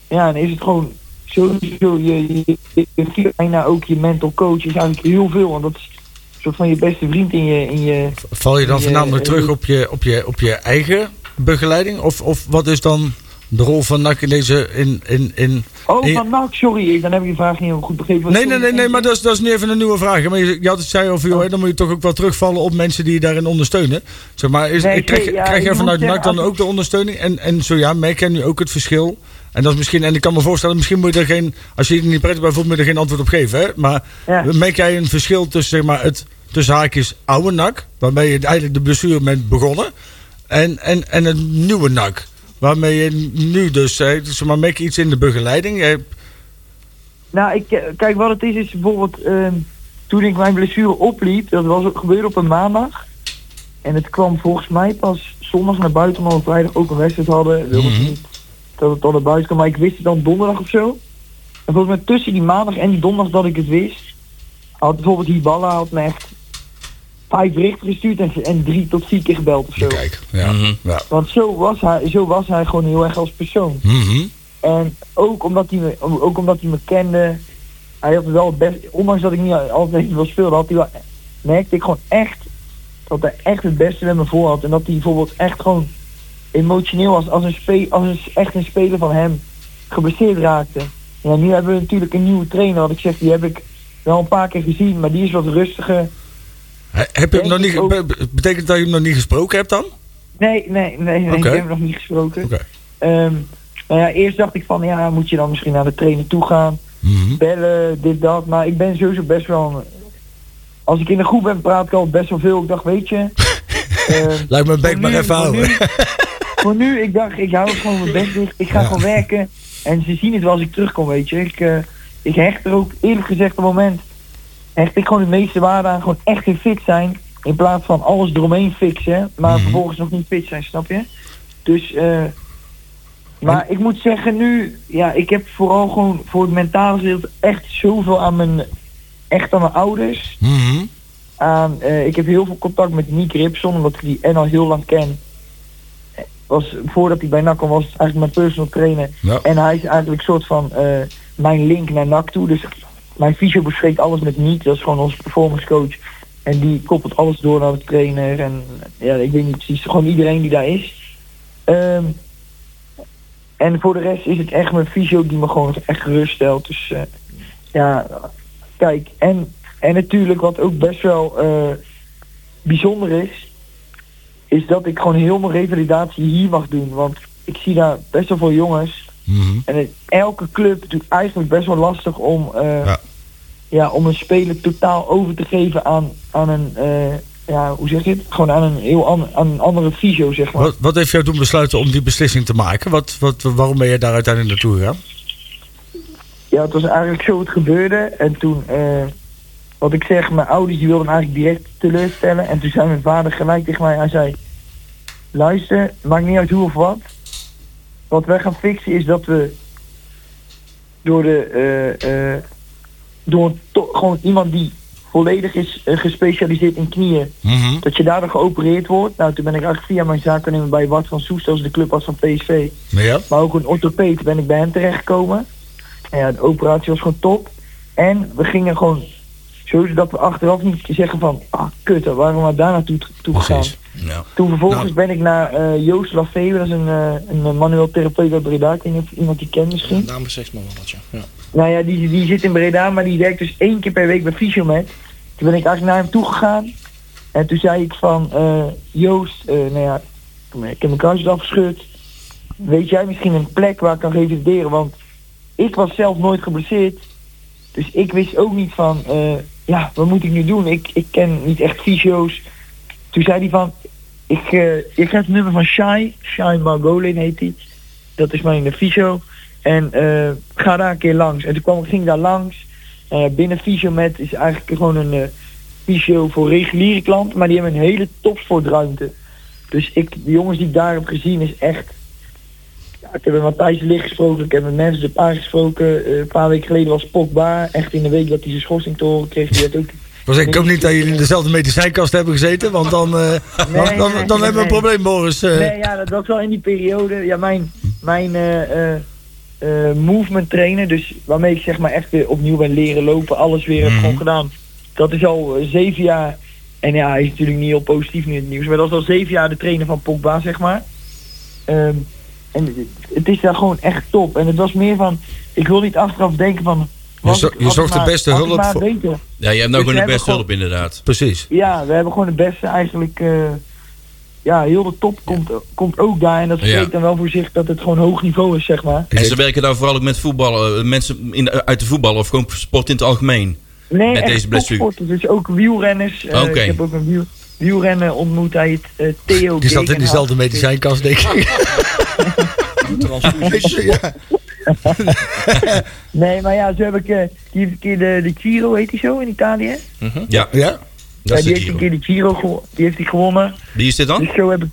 Speaker 7: Ja, en is het gewoon sowieso je, je, je, je- bijna ook je mental coach is eigenlijk heel veel. Want dat is een soort van je beste vriend in je, in je
Speaker 4: Val je dan
Speaker 7: Je-
Speaker 4: voornamelijk terug
Speaker 7: eh,
Speaker 4: op je, op je, op je eigen begeleiding? Of, of wat is dan de rol van NAC in deze. In, in, in,
Speaker 7: Oh,
Speaker 4: in-
Speaker 7: van NAC, sorry, ik- dan heb ik je vraag niet helemaal goed begrepen. Wat
Speaker 4: Nee, nee,
Speaker 7: sorry,
Speaker 4: nee, nee,
Speaker 7: en-
Speaker 4: maar dat is, dat is nu even een nieuwe vraag. hè. Maar je, je had het zei over,
Speaker 7: Oh.
Speaker 4: joh, hè, dan moet je toch ook wel terugvallen op mensen die je daarin ondersteunen. Zeg maar, is,
Speaker 7: Nee,
Speaker 4: ik krijg,
Speaker 7: nee, ja,
Speaker 4: krijg
Speaker 7: ik
Speaker 4: jij
Speaker 7: moet
Speaker 4: vanuit
Speaker 7: zeggen,
Speaker 4: NAC dan
Speaker 7: als-
Speaker 4: ook de ondersteuning? En, en zo ja, merk jij nu ook het verschil? En dat is misschien, en ik kan me voorstellen, misschien moet je er geen, als je je er niet prettig bij voelt, moet je er geen antwoord op geven. Hè? Maar
Speaker 7: Ja.
Speaker 4: merk jij een verschil tussen, zeg maar, het tussen haakjes oude NAC, waarmee je eigenlijk de blessure bent begonnen, en, en, en het nieuwe NAC? Waarmee je nu dus, hè, zeg maar, merk je iets in de begeleiding? hè?
Speaker 7: Nou, ik, eh, kijk, wat het is, is bijvoorbeeld ehm, toen ik mijn blessure opliep, dat was ook gebeurd op een maandag. En het kwam volgens mij pas zondag naar buiten, omdat we vrijdag ook een wedstrijd hadden. Wilde ik niet dat het dan naar buiten kwam, maar ik wist het dan donderdag of zo. En volgens mij tussen die maandag en die donderdag dat ik het wist, had bijvoorbeeld Hiballa had me echt vijf berichten gestuurd en, en drie tot vier keer gebeld of zo.
Speaker 4: Kijk, ja.
Speaker 2: Mhm.
Speaker 4: ja.
Speaker 7: Want zo was hij, zo was hij gewoon heel erg als persoon.
Speaker 4: Mhm.
Speaker 7: En ook omdat hij me, ook omdat hij me kende. hij had wel het best, ondanks dat ik niet altijd even veel speelde, had hij wel, merkte ik gewoon echt dat hij echt het beste met me voor had. En dat hij bijvoorbeeld echt gewoon emotioneel was als een, spe, als een, echt een speler van hem geblesseerd raakte. Ja, nu hebben we natuurlijk een nieuwe trainer, wat ik zeg, die heb ik wel een paar keer gezien, maar die is wat rustiger.
Speaker 4: He- Heb je hem nog niet,
Speaker 7: Denk ik
Speaker 4: be- be- betekent dat je hem nog niet gesproken hebt dan?
Speaker 7: Nee, nee, nee, nee
Speaker 4: Oké.
Speaker 7: ik heb hem nog niet gesproken.
Speaker 4: Oké.
Speaker 7: Ehm, nou ja, eerst dacht ik van, ja, moet je dan misschien naar de trainer toe gaan,
Speaker 4: Mhm.
Speaker 7: bellen, dit, dat. Maar ik ben sowieso best wel... een- Als ik in de groep ben, praat ik al best wel veel. Ik dacht, weet je... ehm,
Speaker 4: Laat mijn bek
Speaker 7: voor
Speaker 4: maar
Speaker 7: nu-
Speaker 4: even
Speaker 7: voor
Speaker 4: houden.
Speaker 7: nu- Voor nu, ik dacht, ik hou het gewoon mijn best dicht. Ik ga gewoon werken. En ze zien het wel als ik terugkom, weet je. Ik, eh, ik hecht er ook, eerlijk gezegd, op het moment... hecht ik gewoon de meeste waarde aan. Gewoon echt weer fit zijn. In plaats van alles eromheen fixen. Maar
Speaker 4: Mhm.
Speaker 7: vervolgens nog niet fit zijn, snap je? Dus, eh... Maar ik moet zeggen nu, ja, ik heb vooral gewoon voor het mentale gedeelte echt zoveel aan mijn, echt aan mijn ouders.
Speaker 4: Mhm.
Speaker 7: Aan, eh, ik heb heel veel contact met Nick Ripson, omdat ik die en al heel lang ken. Eh, Was, voordat hij bij NAC kwam, was het eigenlijk mijn personal trainer.
Speaker 4: Ja.
Speaker 7: En hij is eigenlijk soort van eh, mijn link naar NAC toe. Dus mijn fysio bespreekt alles met Nick, dat is gewoon onze performance coach. En die koppelt alles door naar de trainer. En ja, ik weet niet precies, gewoon iedereen die daar is. Ehm, en voor de rest is het echt mijn fysio die me gewoon echt gerust stelt. Dus eh, ja, kijk. En, en natuurlijk wat ook best wel eh, bijzonder is, is dat ik gewoon heel mijn revalidatie hier mag doen. Want ik zie daar best wel veel jongens.
Speaker 4: Mhm.
Speaker 7: En het- elke club doet eigenlijk best wel lastig om, eh,
Speaker 4: Ja.
Speaker 7: ja. om een speler totaal over te geven aan, aan een, eh, ja, hoe zeg je het? Gewoon aan een heel an- aan een andere fysio, zeg maar.
Speaker 4: Wat, wat heeft jou toen besluiten om die beslissing te maken? Wat, wat, waarom ben je daar uiteindelijk naartoe gegaan?
Speaker 7: Ja, het was eigenlijk zo het gebeurde. En toen, eh, wat ik zeg, mijn ouders die wilden me eigenlijk direct teleurstellen. En toen zei mijn vader gelijk tegen mij, hij zei, luister, maakt niet uit hoe of wat. Wat wij gaan fixen is dat we door de, eh, eh, door een to- gewoon iemand die volledig is eh, gespecialiseerd in knieën, dat je daardoor geopereerd wordt. Nou, toen ben ik eigenlijk via mijn zakennemer bij Wart van Soest, als de club was van PSV.
Speaker 4: Ja.
Speaker 7: Maar ook een orthopeed ben ik bij hem terechtgekomen. En ja, de operatie was gewoon top. En we gingen gewoon sowieso dat we achteraf niet zeggen van... Ah, kut, hè, waarom waren we daar naartoe toe gegaan?
Speaker 4: Precies. Ja.
Speaker 7: Toen vervolgens
Speaker 4: Nou.
Speaker 7: ben ik naar eh, Joost Lafewe, dat is een, eh, een eh, manueel therapeut uit Breda. Ik weet niet of iemand die kent misschien.
Speaker 5: Daarom beseft men wel dat, ja. ja.
Speaker 7: Nou ja, die, die zit in Breda, maar die werkt dus één keer per week bij Fysiomed. Toen ben ik eigenlijk naar hem toe gegaan. En toen zei ik van, eh, Joost, eh, nou ja, ik heb mijn kruisjes afgeschud. Weet jij misschien een plek waar ik kan revalideren? Want ik was zelf nooit geblesseerd. Dus ik wist ook niet van, eh, ja, wat moet ik nu doen? Ik, ik ken niet echt fysio's. Toen zei hij van, ik, eh, ik heb het nummer van Shai. Shai Margolin heet hij. Dat is mijn eh, fysio. En eh, ga daar een keer langs. En toen kwam, ging ik daar langs. Eh, binnen Fysiomet is eigenlijk gewoon een eh fysio voor reguliere klanten. Maar die hebben een hele topsportruimte. Dus ik, de jongens die ik daar heb gezien is echt... Ja, ik heb met Matthijs de Ligt gesproken. Ik heb met mensen de paar gesproken. Eh, een paar weken geleden was Pogba. Echt in de week dat hij zijn schorsing te horen kreeg. Die had ook...
Speaker 4: Was ik hoop niet dat jullie in dezelfde medicijnkast hebben gezeten, want dan, eh, dan, dan,
Speaker 7: nee,
Speaker 4: dan hebben we een
Speaker 7: nee.
Speaker 4: probleem, Boris. eh.
Speaker 7: Nee, ja, dat was wel in die periode. Ja, mijn, mijn eh, eh, eh, movement trainen, dus waarmee ik zeg maar echt weer opnieuw ben leren lopen, alles weer
Speaker 4: Mhm.
Speaker 7: heb gewoon gedaan. Dat is al eh, zeven jaar. En ja, hij is natuurlijk niet heel positief nu in het nieuws, maar dat is al zeven jaar de trainer van Pogba, zeg maar. Ehm, en het- het is daar gewoon echt top. En het was meer van, ik wil niet achteraf denken van... was
Speaker 4: zo-
Speaker 7: ik-
Speaker 4: je
Speaker 7: had
Speaker 4: zocht
Speaker 7: ik
Speaker 4: de
Speaker 7: maar-
Speaker 4: beste
Speaker 7: had ik
Speaker 4: hulp
Speaker 7: maar
Speaker 4: voor-
Speaker 7: beter.
Speaker 2: Ja, je hebt nou
Speaker 7: Dus we
Speaker 2: gewoon de
Speaker 7: hebben
Speaker 2: beste
Speaker 7: gewoon-
Speaker 2: hulp inderdaad.
Speaker 4: Precies.
Speaker 7: Ja, we hebben gewoon de beste eigenlijk. eh, ja, heel de top komt, komt ook daar. En dat spreekt
Speaker 2: Ja.
Speaker 7: dan wel voor zich dat het gewoon hoog niveau is, zeg maar.
Speaker 2: En ze werken daar vooral ook met voetballen. eh, Mensen in, uit de voetballen of gewoon sport in het algemeen.
Speaker 7: Nee,
Speaker 2: Met
Speaker 7: echt
Speaker 2: deze blessure.
Speaker 7: topsporters. Dus ook wielrenners. Eh,
Speaker 2: Oké.
Speaker 7: Ik heb ook een wiel, wielrenner ontmoet. Hij heet eh, Theo
Speaker 4: Die zat in
Speaker 7: Gegenhout.
Speaker 4: diezelfde medicijnkast, denk ik. ja.
Speaker 7: Nee, maar ja, zo heb ik... eh, die heeft een keer de, de Giro, heet die zo, in Italië?
Speaker 2: Ja,
Speaker 4: ja.
Speaker 2: dat
Speaker 7: ja,
Speaker 2: is
Speaker 7: die
Speaker 2: de
Speaker 7: heeft
Speaker 2: Giro.
Speaker 7: een
Speaker 2: Oh.
Speaker 7: keer de Giro gewo- die heeft die gewonnen.
Speaker 2: Wie is dit dan?
Speaker 7: Dus zo heb ik...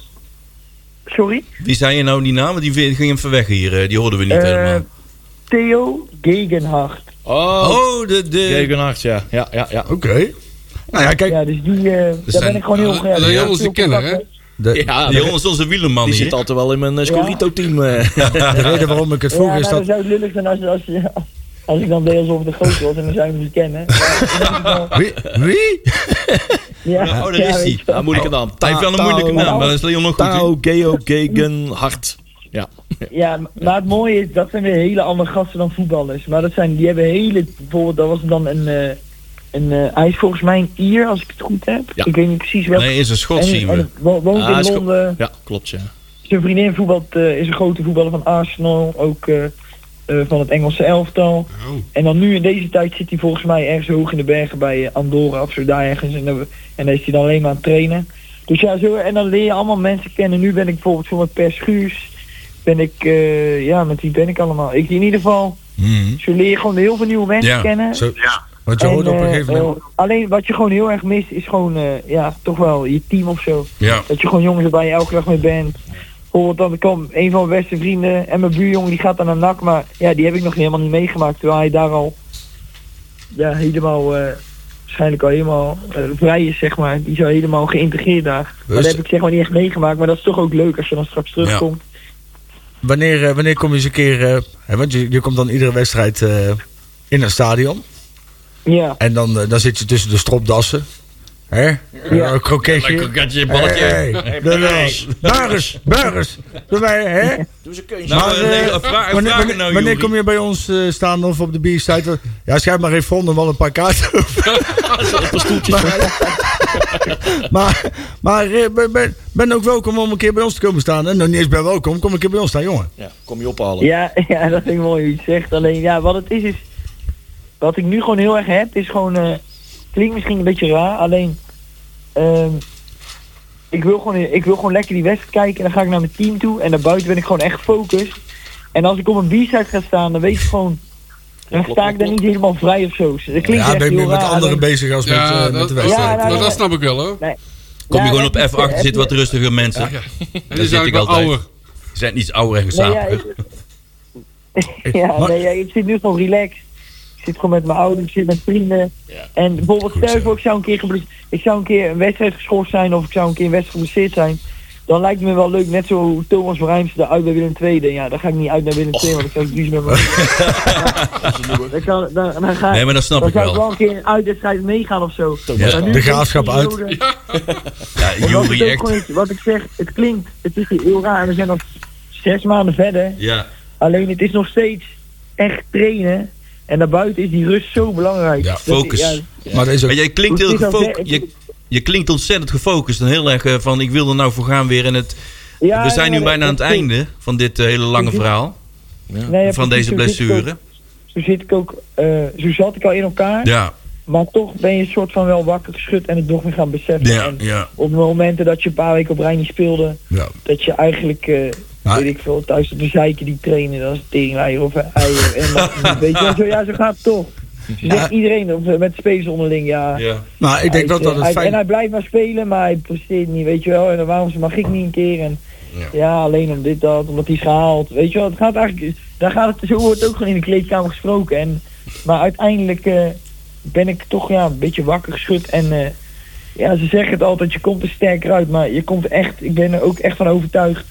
Speaker 7: Sorry?
Speaker 2: Wie zei je nou die naam? Want Die vi- ging even weg hier. eh, Die hoorden we niet
Speaker 7: Eh,
Speaker 2: helemaal.
Speaker 7: Theo Gegenhard.
Speaker 5: Oh,
Speaker 2: Oh, de... de...
Speaker 5: Gegenacht, ja. Ja, ja, ja.
Speaker 4: Oké. Nou ja, kijk.
Speaker 7: Ja, dus die... eh daar
Speaker 2: zijn-
Speaker 7: ben ik gewoon heel...
Speaker 3: eh,
Speaker 7: graag-
Speaker 3: Leon
Speaker 7: heel
Speaker 3: is de
Speaker 7: veel
Speaker 3: kenner,
Speaker 7: contact
Speaker 3: hè?
Speaker 7: mee.
Speaker 4: De,
Speaker 5: Ja,
Speaker 2: Die
Speaker 5: die,
Speaker 2: jongen is onze wielerman
Speaker 5: Ah, die
Speaker 2: hier.
Speaker 5: zit altijd wel in mijn Scorito-team. eh.
Speaker 4: de reden waarom ik het vroeg
Speaker 7: Ja,
Speaker 4: is
Speaker 7: nou,
Speaker 4: dat...
Speaker 7: dat zou het lullig zijn als, als, als, Als ik dan deed alsof het een groot was en dan zou je me kennen.
Speaker 4: Wie? Wie?
Speaker 7: Ja,
Speaker 2: Oh, daar
Speaker 7: ja,
Speaker 2: is
Speaker 7: weet
Speaker 2: hij.
Speaker 7: je wel.
Speaker 5: Een moeilijke naam.
Speaker 2: Oh. Hij heeft wel een moeilijke naam, maar dat is Leon nog goed. hè?
Speaker 5: Tao Geo Gegen Hart. Ja.
Speaker 7: Ja, maar het mooie is, dat zijn weer hele andere gasten dan voetballers. Maar dat zijn, die hebben hele, bijvoorbeeld, dat was dan een, eh, een eh, hij is volgens mij een Ier, als ik het goed heb.
Speaker 5: Ja.
Speaker 7: Ik weet niet precies welke.
Speaker 2: Nee, is een schot
Speaker 7: En-
Speaker 2: zien
Speaker 7: en
Speaker 2: we.
Speaker 7: wo- woont
Speaker 5: Ah, is
Speaker 7: in
Speaker 5: go-
Speaker 7: Londen.
Speaker 5: Ja, klopt ja.
Speaker 7: Zijn vriendin voetbalt, eh, is een grote voetballer van Arsenal, ook eh, eh, van het Engelse elftal.
Speaker 3: Oh.
Speaker 7: En dan nu in deze tijd zit hij volgens mij ergens hoog in de bergen bij eh, Andorra of zo daar ergens. En dan, en dan is hij dan alleen maar aan het trainen. Dus ja, zo, en dan leer je allemaal mensen kennen. Nu ben ik bijvoorbeeld voor met Per Schuurs. Ben ik, eh, ja, met wie ben ik allemaal? Ik in ieder geval, zo leer je gewoon heel veel nieuwe mensen
Speaker 2: Ja,
Speaker 7: kennen.
Speaker 4: Zo, Want je
Speaker 7: En,
Speaker 4: hoort op een
Speaker 7: eh,
Speaker 4: gegeven moment...
Speaker 7: eh, alleen wat je gewoon heel erg mist is gewoon, eh, ja, toch wel je team of zo.
Speaker 2: Ja.
Speaker 7: Dat je gewoon jongens waar je elke dag mee bent. Bijvoorbeeld dan ik kwam een van mijn beste vrienden en mijn buurjongen die gaat dan naar NAC, maar ja, die heb ik nog helemaal niet meegemaakt. Terwijl hij daar al ja, helemaal eh, waarschijnlijk al helemaal eh, vrij is, zeg maar. Die is al helemaal geïntegreerd daar. Maar
Speaker 4: Dus-
Speaker 7: dat heb ik zeg maar niet echt meegemaakt, maar dat is toch ook leuk als je dan straks terugkomt. oh.
Speaker 4: Wanneer, eh, wanneer kom je eens een keer... eh, hè, want je, je komt dan iedere wedstrijd eh, in een stadion.
Speaker 7: Ja,
Speaker 4: En dan, eh, dan zit je tussen de stropdassen. Hè? Eh,
Speaker 7: Ja.
Speaker 4: Een kroketje.
Speaker 2: Lekker
Speaker 4: Hey,
Speaker 2: katje, balletje.
Speaker 4: hey, dat was- Burgers, burgers. Doe mij, hè?
Speaker 2: Nou,
Speaker 4: Maar,
Speaker 2: eh, nee,
Speaker 4: eh,
Speaker 2: vraag- vraag
Speaker 4: Wanneer,
Speaker 2: het
Speaker 4: wanneer-
Speaker 2: nou,
Speaker 4: wanneer
Speaker 2: Joeri.
Speaker 4: kom je bij ons eh, staan of op de biersite? Ja, schrijf maar geen vonden, wel een paar kaarten. maar, eh, maar, maar, eh, ben, ben, ben ook welkom om een keer bij ons te komen staan. En nog niet eens bij welkom, kom een keer bij ons staan, jongen.
Speaker 5: ja. Kom je ophalen.
Speaker 7: ja, ja, dat vind ik mooi hoe je het zegt. Alleen ja, wat het is is, wat ik nu gewoon heel erg heb is gewoon, eh, klinkt misschien een beetje raar, alleen ehm, ik, wil gewoon, ik wil gewoon lekker die wedstrijd kijken en dan ga ik naar mijn team toe en daarbuiten ben ik gewoon echt gefocust. En als ik op een b-side ga staan, dan weet ik gewoon, dan
Speaker 5: klopt,
Speaker 7: sta ik daar
Speaker 5: klopt.
Speaker 7: niet helemaal vrij of zo. Dus Dat klinkt
Speaker 4: ja,
Speaker 7: echt
Speaker 4: ben ik
Speaker 7: heel
Speaker 4: meer met
Speaker 7: raar,
Speaker 4: anderen
Speaker 7: alleen-
Speaker 4: bezig als met, eh,
Speaker 3: Ja,
Speaker 4: met
Speaker 3: dat,
Speaker 4: de
Speaker 3: dat,
Speaker 4: wedstrijd.
Speaker 7: Ja, nou,
Speaker 3: maar
Speaker 7: ja.
Speaker 3: dat snap ik wel hoor.
Speaker 2: Kom je
Speaker 7: Ja,
Speaker 2: gewoon op
Speaker 7: dat is-
Speaker 2: F8,
Speaker 7: eh,
Speaker 2: zit wat
Speaker 7: eh,
Speaker 2: rustiger mensen.
Speaker 3: Ja.
Speaker 2: Dat
Speaker 3: En is
Speaker 2: zit ik
Speaker 3: eigenlijk wel
Speaker 2: altijd.
Speaker 3: ouder.
Speaker 2: Ze zijn iets ouder en
Speaker 7: Nee, ja,
Speaker 2: gezapig.
Speaker 7: ik, ja, nee, ja, ik zit nu gewoon relaxed. Ik zit gewoon met mijn ouders, ik zit met vrienden. En bijvoorbeeld stel je voor, ik zou een keer geble- ik zou een keer een wedstrijd geschorst zijn of ik zou een keer een wedstrijd geblesseerd zijn. Dan lijkt het me wel leuk, net zo hoe Thomas Rijms eruit bij Willem II. deed. Ja, dan ga ik niet uit naar Willem
Speaker 2: Oh.
Speaker 7: II, want dan zou ik duur met me. Ja, dan, kan- dan, dan ga ik,
Speaker 2: Nee, maar dat snap
Speaker 7: dan
Speaker 2: ik
Speaker 7: zou
Speaker 2: wel.
Speaker 7: ik wel een keer een uitwedstrijd meegaan of zo.
Speaker 2: Ja.
Speaker 7: Maar nu
Speaker 4: De
Speaker 7: is
Speaker 4: graafschap
Speaker 7: deze
Speaker 4: uit.
Speaker 7: periode-
Speaker 2: Ja,
Speaker 7: want dat
Speaker 2: Joeri
Speaker 7: is ook
Speaker 2: echt.
Speaker 7: gewoon iets- Wat ik zeg, het klinkt, het is heel raar. We zijn nog zes maanden verder.
Speaker 2: Ja.
Speaker 7: Alleen het is nog steeds echt trainen. En daarbuiten is die rust zo belangrijk.
Speaker 2: Ja,
Speaker 7: Dat-
Speaker 2: focus.
Speaker 7: ja,
Speaker 4: Maar dat is ook...
Speaker 2: Maar jij klinkt heel
Speaker 7: Hoe het is als-
Speaker 2: gefocust. Je, je klinkt ontzettend gefocust en heel erg eh, van ik wil er nou voor gaan weer. En het,
Speaker 7: ja,
Speaker 2: we zijn
Speaker 7: ja,
Speaker 2: nu
Speaker 7: nee,
Speaker 2: bijna aan het
Speaker 7: dat klinkt.
Speaker 2: einde van dit eh, hele lange
Speaker 7: Precies.
Speaker 2: verhaal.
Speaker 7: Nee, ja,
Speaker 2: Van deze
Speaker 7: precies, zo zit ik ook-
Speaker 2: blessure.
Speaker 7: Zo zit ik ook, eh, zo zat ik al in elkaar.
Speaker 2: Ja,
Speaker 7: Maar toch ben je soort van wel wakker geschud en het nog weer gaan beseffen.
Speaker 2: ja,
Speaker 7: En
Speaker 2: ja.
Speaker 7: op de momenten dat je een paar weken op rij niet speelde,
Speaker 4: Ja.
Speaker 7: dat je eigenlijk, eh,
Speaker 4: Maar-
Speaker 7: weet ik veel, thuis op de zeiken die trainen, dat is teringleier of eieren. en dat, weet je wel, zo, ja, zo gaat het toch. Zo zegt iedereen of, eh, met spelers onderling, ja.
Speaker 2: ja.
Speaker 4: Nou, ik denk
Speaker 7: Hij
Speaker 4: wel
Speaker 7: is,
Speaker 4: dat het
Speaker 7: eh, hij- En
Speaker 4: fijn...
Speaker 7: hij blijft maar spelen, maar hij presteert niet, weet je wel. En dan waarom mag ik niet een keer? En ja, alleen om dit, dat, omdat hij is gehaald. Weet je wel, het gaat eigenlijk... Daar gaat het, zo wordt ook gewoon in de kleedkamer gesproken. En, maar uiteindelijk eh, ben ik toch ja, een beetje wakker geschud. En eh, ja, ze zeggen het altijd, je komt er sterker uit. Maar je komt echt, ik ben er ook echt van overtuigd...